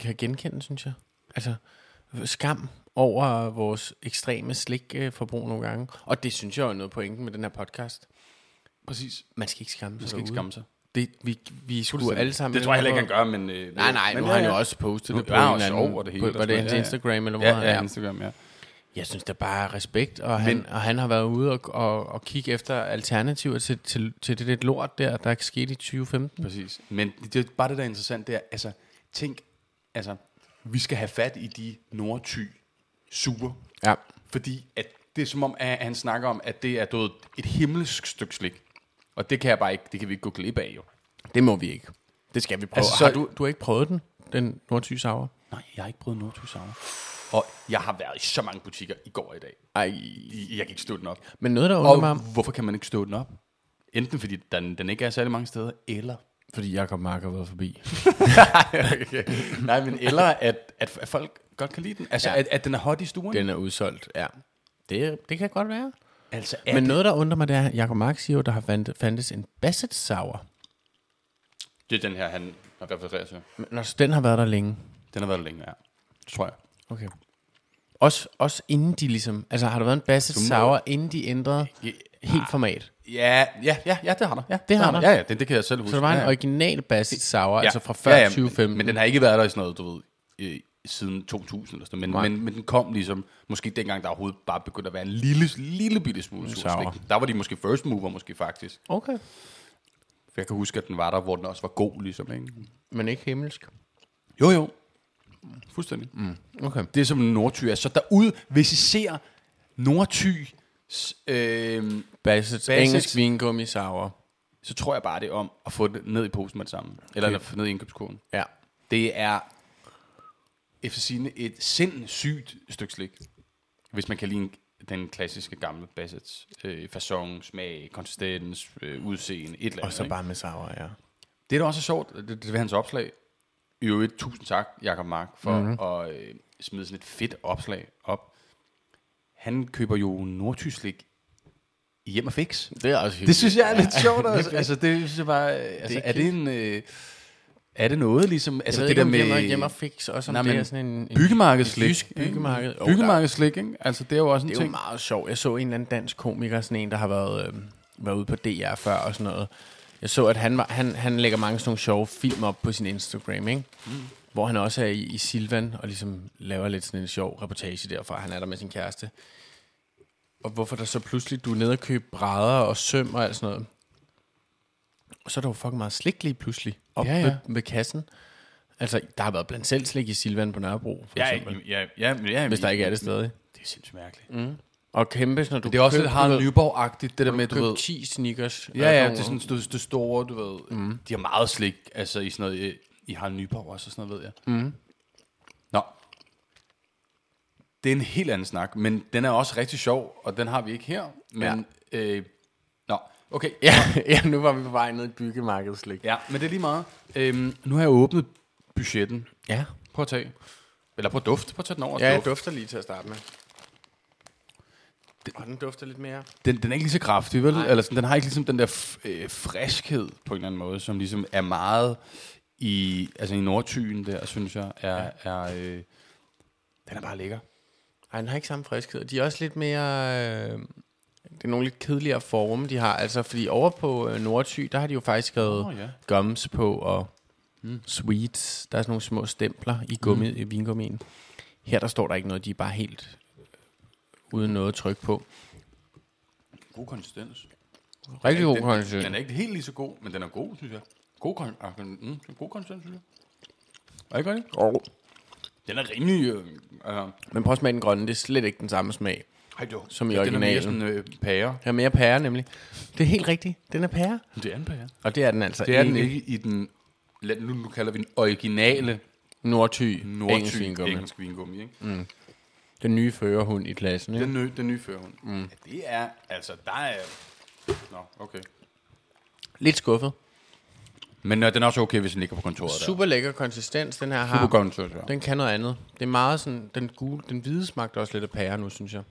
kan genkende, synes jeg. Altså, skam over vores ekstreme slikforbrug nogle gange. Og det synes jeg er noget pointen med den her podcast.
Præcis.
Man skal ikke skamme sig
Man skal ikke
derude.
skamme sig.
Det, vi, vi skulle alle sammen...
Det tror jeg heller ikke, han gør, men... Øh,
Nej, nej,
men
nu
ja,
har han jo
ja.
også postet
Nu
det på
er han
en
også
eller anden...
over det hele
på-
og
Var
sådan
det
noget.
hans
Ja, ja.
Instagram, eller hvor
Ja,
han
ja, Instagram, ja.
Jeg synes, det er bare respekt, og han, og han har været ude og, og, og kigge efter alternativer til, til, til det, det lort der, der skete i 2015.
Præcis. Men det, det, er bare det, der er interessant, det er, altså, tænk, altså, vi skal have fat i de nordty sure,
Ja.
fordi at det er som om, at han snakker om, at det er død et himmelsk stykke slik. Og det kan jeg bare ikke, det kan vi ikke gå glip af, jo.
Det må vi ikke. Det skal vi prøve.
Altså,
Altså,
så-
har du, du har ikke prøvet den, den nordtyge sauer?
Nej, jeg har ikke prøvet nordty sauer. Og jeg har været i så mange butikker i går og i dag.
Ej.
I- Jeg kan ikke stå den op.
Men noget, der undrer mig,
Og
om-
hvorfor kan man ikke stå den op? Enten fordi den, den ikke er særlig mange steder, eller...
fordi Jacob Mark har været forbi.
okay. Nej, men eller at, at at folk godt kan lide den. Altså, ja. at, at den er hot i stuen.
Den er udsolgt, ja. Det, det kan godt være.
Altså,
Ja,
er
Men
det,
noget, der undrer mig, det er, at Jacob Mark siger jo, der har fandt, fandtes en Basset sauer.
det er den her, han refererer til.
Men altså, den har været der længe.
Den har været der længe, ja. Det tror jeg.
Okay. Også, også inden de ligesom... Altså, har der været en Basset
må-
Sauer, inden de ændrede
Ja,
helt format?
Ja, ja, ja, ja det har der. Ja,
det har der.
Ja, ja, det, det kan jeg selv huske.
Så der var
ja,
en
ja.
original Basset Sauer, altså fra før
ja, ja,
2015.
Men den har ikke været der i sådan noget, du ved, øh, siden 2000 eller sådan
Nej.
noget. men, men, men den kom ligesom, måske dengang, der overhovedet bare begyndte at være en lille, lille bitte smule
Sauer.
sur slik. Der var de måske first mover, måske faktisk.
Okay.
For jeg kan huske, at den var der, hvor den også var god, ligesom. Ikke?
Men ikke himmelsk.
Jo, jo. Fuldstændig. Mm.
Okay.
Det er som en nordty er. Så derude, hvis I ser nordty, øh,
Bassets,
Bassets-
engelsk vingummi Sauer.
så tror jeg bare, det er om at få det ned i posen med det samme. Eller okay. ned i indkøbskurven.
Ja.
Det er efter sine et sindssygt stykke slik. Hvis man kan lide en, den klassiske gamle Bassets. Øh, fasong, smag, konsistens, øh, udseende, et eller
Og
andet.
så
ikke?
bare med Sauer, ja.
Det der også er sjovt, det, det er hans opslag. I øvrigt, tusind tak, Jakob Mark, for mm-hmm. at øh, smide sådan et fedt opslag op. Han køber jo nordtyslik i hjem og fix.
Det er også hyggeligt.
Det synes jeg er lidt sjovt også. Altså, det synes jeg bare... øh, Altså,
Det
det
er
er, er det en... Øh, er det noget ligesom...
jeg
Altså,
ved
det
ikke,
der
om
med...
Hjem og, hjem og fix, også om
Nej,
det er
men
sådan en... en
Byggemarkedslik.
jysk byggemarked. Jo,
Ikke?
der-
Byggemarkedslik, Mm. ikke? Altså, det er jo også en
Det er jo
ting.
meget sjovt. Jeg så en eller anden dansk komiker, sådan en, der har været, øh, været ude på DR før og sådan noget. Jeg så, at han, var, han, han lægger mange sådan nogle sjove film op på sin Instagram, ikke? Mm. Hvor han også er i, i Silvan og ligesom laver lidt sådan en sjov reportage derfra. Han er der med sin kæreste. Og hvorfor der så pludselig, du er nede og købe brædder og søm og alt sådan noget. Og så er der jo fucking meget slik lige pludselig op
Ja, ja.
Ved, ved, kassen. Altså, der har været blandt selv slik i Silvan på Nørrebro, for
Ja,
eksempel.
ja, ja, ja,
Hvis der ikke er det stadig.
Det er sindssygt mærkeligt.
Og kæmpe, når du
Det er også
køber-
lidt Harald Nyborg-agtigt, det der med, du
køb
ved...
10 sneakers.
Ja, ja, det er sådan det, det store, du ved. Mm. De har meget slik, altså i sådan noget, øh, i Harald Nyborg også, og sådan noget, ved jeg. Mm. Nå. Det er en helt anden snak, men den er også rigtig sjov, og den har vi ikke her. Men, ja. øh, nå, okay.
Ja, ja, nu var vi på vej ned i et byggemarkedslik.
Ja, men det er lige meget. Øhm, nu har jeg åbnet budgetten.
Ja.
Prøv at tage. Eller prøv at duft. Prøv at tage den over. og
Ja, jeg
duft.
dufter lige til at starte med. Den, og den dufter lidt mere.
Den, den er ikke lige så kraftig, vel? Eller sådan, den har ikke ligesom den der f- øh, friskhed på en eller anden måde, som ligesom er meget i, altså i Nordtyen der, synes jeg, er, er øh, den er bare lækker.
Ej, den har ikke samme friskhed. De er også lidt mere... Øh, det er nogle lidt kedeligere forme, de har. Altså, fordi over på øh, Nordty, der har de jo faktisk skrevet oh,
Åh,
ja.
ja.
gums på og mm. sweets. Der er sådan nogle små stempler i, gummi, mm. i vingummien. Her der står der ikke noget, de er bare helt uden noget tryk på.
God konsistens.
Rigtig god
den,
konsistens.
Den er ikke helt lige så god, men den er god, synes jeg. God, kon- ah, den- mm, den er god konsistens, synes jeg. Er det ikke rigtigt?
Oh.
Den er rimelig... Øh, øh,
Men prøv at smage den grønne, det er slet ikke den samme smag.
hej, jo.
Som i
Den er mere
originalen.
sådan øh, pære.
Her er mere pære nemlig. Det er helt rigtigt, den er pære.
Men Det er en pære.
Og det er den altså
Det er den ikke i den... lad- Nu, nu kalder vi den originale
Nordty,
nordtysk
Nordty
engelsk,
vingummi.
engelsk vingummi. Ikke? Mm.
Den nye førerhund i klassen. Ikke?
Den, nye, den nye førhund. Mm. Ja, det er... Altså, der er... Nå, okay.
Lidt skuffet.
Men øh, den er også okay, hvis den ligger på kontoret der.
Super lækker konsistens, den her har.
Super godt, synes jeg.
Den kan noget andet. Det er meget sådan, den gule, den hvide smagte også lidt af pære nu, synes jeg.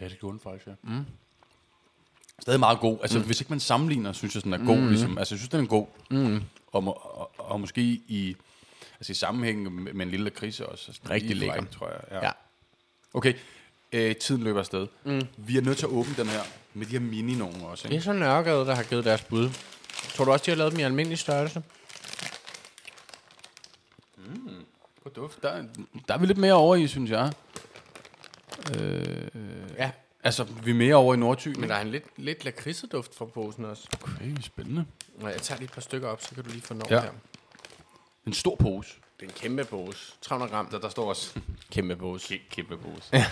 Ja, det gjorde den faktisk, ja. Mm. Stadig meget god. Altså, mm. hvis ikke man sammenligner, synes jeg, den er god. Mm. Ligesom. Altså, jeg synes, den er god. Mm. Og, må, og, og, måske i, altså, i sammenhæng med, med en lille lakridse også. Altså,
Rigtig
lige på
lækker.
vej, tror jeg. Ja.
Ja.
ja. Okay, øh, tiden løber afsted. Mm. Vi er nødt til at åbne den her med de her mini nogen også.
Det
Ikke?
er så Nørregade, der har givet deres bud. Tror du også, de har lavet dem i almindelig størrelse?
God duft. Der, der er vi lidt mere over i, synes jeg.
Ja.
Altså, vi er mere over i Nordtyn.
Men
Men
der er en lidt, lidt lakridseduft fra posen også.
okay, spændende.
Nå, jeg tager lige et par stykker op, så kan du lige få når
Ja.
her.
En stor pose.
Det er en kæmpe pose. 300 gram.
Der, der står også
Kæmpe pose. Øhm.
Kæ- kæmpe pose. Ja.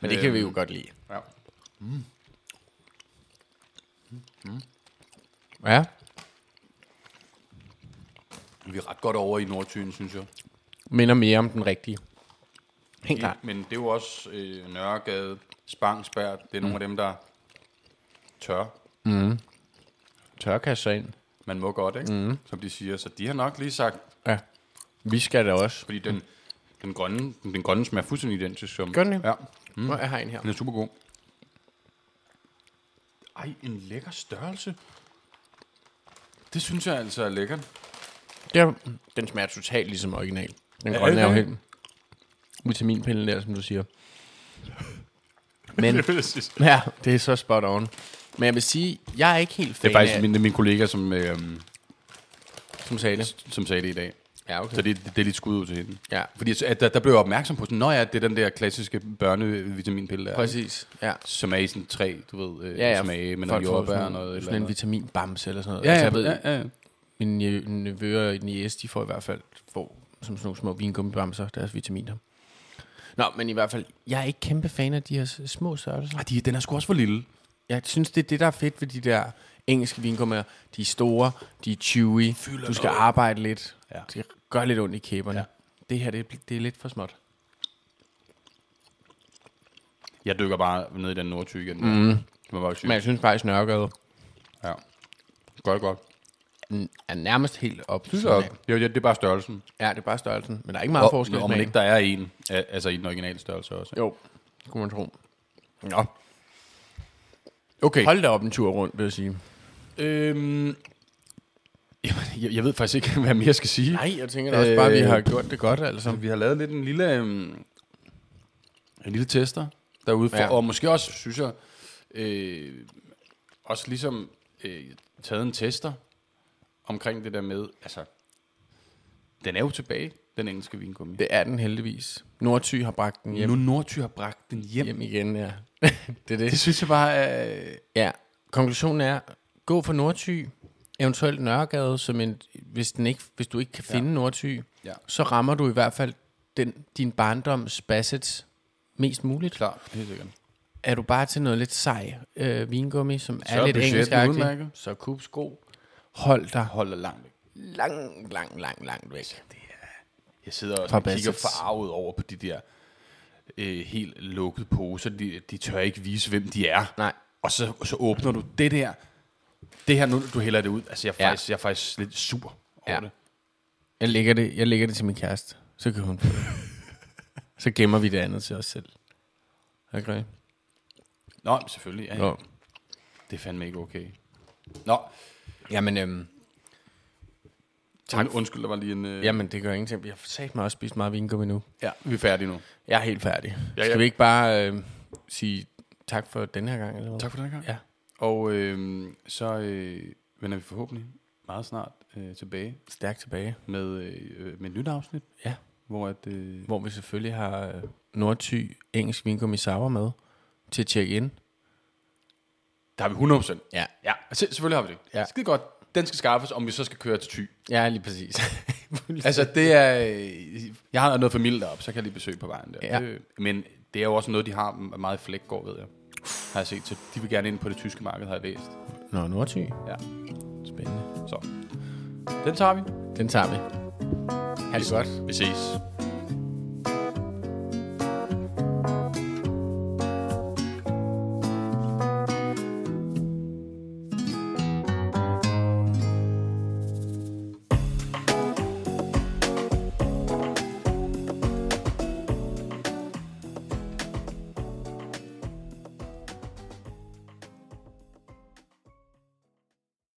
Men det kan vi jo godt lide.
ja.
Ja.
Vi er ret godt over i Nordtyn, synes jeg.
Minder mere om den rigtige. Helt klart.
Men det er jo også øh, Nørregade, Spangsberg, det er nogle af dem,
Mm.
der tør.
Tørkasse ind.
Man må godt, ikke? Mm. Som de siger. Så de har nok lige sagt,
Ja. Vi skal da også.
fordi den, den, grønne, den, den grønne smager fuldstændig identisk. Som,
Gør den det?
Ja,
Mm. Jeg har en her.
den er super god. Ej, en lækker størrelse. Det synes jeg altså er lækkert.
Der, den smager totalt ligesom original. Den
Ja,
grønne er jo
okay.
helt vitaminpillen der, som du siger. Men
det
ja, det er så spot on. Men jeg vil sige, jeg er ikke helt fan
er faktisk
af,
min, det er min kollega, som, øh,
som sagde det.
som sagde det i dag.
Ja, okay.
Så det, det er lidt skud ud til hende.
Ja,
Fordi så- at der, der blev jeg opmærksom på sådan, nå ja, det er den der klassiske børnevitaminpille der.
præcis. Ja.
Som er i sådan tre, du ved, øh,
Ja, ja.
smage med
Folk
noget
får
jordbær
sådan
og noget. Eller
Sådan en
andet.
vitaminbamse eller sådan noget.
Ja,
altså,
ja,
jeg ved,
ja, ja, ja.
Mine nevø- nevøer og niæs, de får i hvert fald får, som sådan nogle små vingummibamser, deres vitaminer. Nå, men i hvert fald, jeg er ikke kæmpe fan af de her s- små størrelser.
Ej, de, den er sgu også for lille.
Jeg synes, det er det, der er fedt ved de der engelske vingummier. De er store, de er chewy, Fylder du skal noget. arbejde lidt.
Ja.
Det gør lidt ondt i kæberne. Ja. Det her, det, er- det er lidt for småt.
Jeg dykker bare ned i den nordtyg igen. Mm. Det var bare sygt.
Mhm. Men jeg synes faktisk, Nørregade
Ja. Godt, godt.
er nærmest helt op. til
Synes
siden
jeg
af.
også. Det, er- det er bare størrelsen.
Ja, det er bare størrelsen. Men der er ikke meget forskel. i
og, og man
smagen.
ikke der er en, al- altså i den originale størrelse også.
Jo, kunne man tro. Nå,
Okay.
hold da op en tur rundt, vil jeg sige.
Øhm, jamen, jeg, jeg ved faktisk ikke, hvad mere jeg skal sige.
Nej, jeg tænker da også øh, bare, at vi har gjort det godt, altså.
Vi har lavet lidt en lille, øhm, en lille tester derude, for, ja.
Ja.
og måske også, synes jeg, øh, også ligesom øh, taget en tester omkring det der med, altså, den er jo tilbage, den engelske vingummi.
Det er den heldigvis. Nordty har bragt den hjem,
Nu Nordty har bragt den hjem.
hjem igen, ja. det er
Det synes jeg bare er... Øh,
Ja, konklusionen er, gå for Nordty, eventuelt Nørregade, som en, hvis, den ikke, hvis du ikke kan finde ja. Nordty,
Ja.
så rammer du i hvert fald den, din barndoms bassets mest muligt.
klart, helt sikkert.
Er du bare til noget lidt sej øh, vingummi, som
er
er lidt
budgetten
engelskagtigt,
udmærket.
så Coops god. Hold dig
Holder langt væk.
langt, langt, langt, langt væk.
Jeg sidder også
Fra
og kigger
Bassets.
forarvet over på de der øh, helt lukkede poser. De, de tør ikke vise, hvem de er.
Nej.
Og så, så åbner du det der. Det her, nu du hælder det ud. Altså, jeg er
Ja.
faktisk, jeg er faktisk lidt sur over
Ja.
ja. det.
Jeg lægger det, jeg lægger det til min kæreste, så kan hun få det. så gemmer vi det andet til os selv. Okay.
Nå, men selvfølgelig. Ja, ja.
Nå.
Det er fandme ikke okay. Nå,
Jamen, øhm,
tak. undskyld, der var lige en... Øh,
jamen, det gør ingenting. Jeg har sat mig også spist meget vingummi nu.
ja, vi er færdige nu.
Jeg er helt færdig. Ja,
Ja,
ja.
ja.
Skal vi ikke bare øh, sige tak for den her gang? Eller hvad?
Tak for den her gang.
Ja.
Og øh, så øh, vender vi forhåbentlig meget snart øh, tilbage
Stærkt tilbage.
med, øh, med et nyt afsnit.
Ja.
hvor at, øh,
hvor vi selvfølgelig har øh, Nordty engelsk vingummi sour med til at tjekke ind.
der har vi 100%.
Ja.
Ja, se, selvfølgelig har vi det.
Ja.
Skide godt. Den skal skaffes, om vi så skal køre til Thy.
Ja, lige præcis.
Altså, det er... øh, Jeg har noget familie deroppe, så kan jeg lige besøge på vejen der.
Ja.
Det, men det er jo også noget, de har meget i Flækgaard, ved jeg. Har jeg set, så de vil gerne ind på det tyske marked, har jeg læst.
Nå, Nordty.
Ja,
Spændende.
så. Den tager vi.
Den tager vi. Ha' det godt.
Vi ses.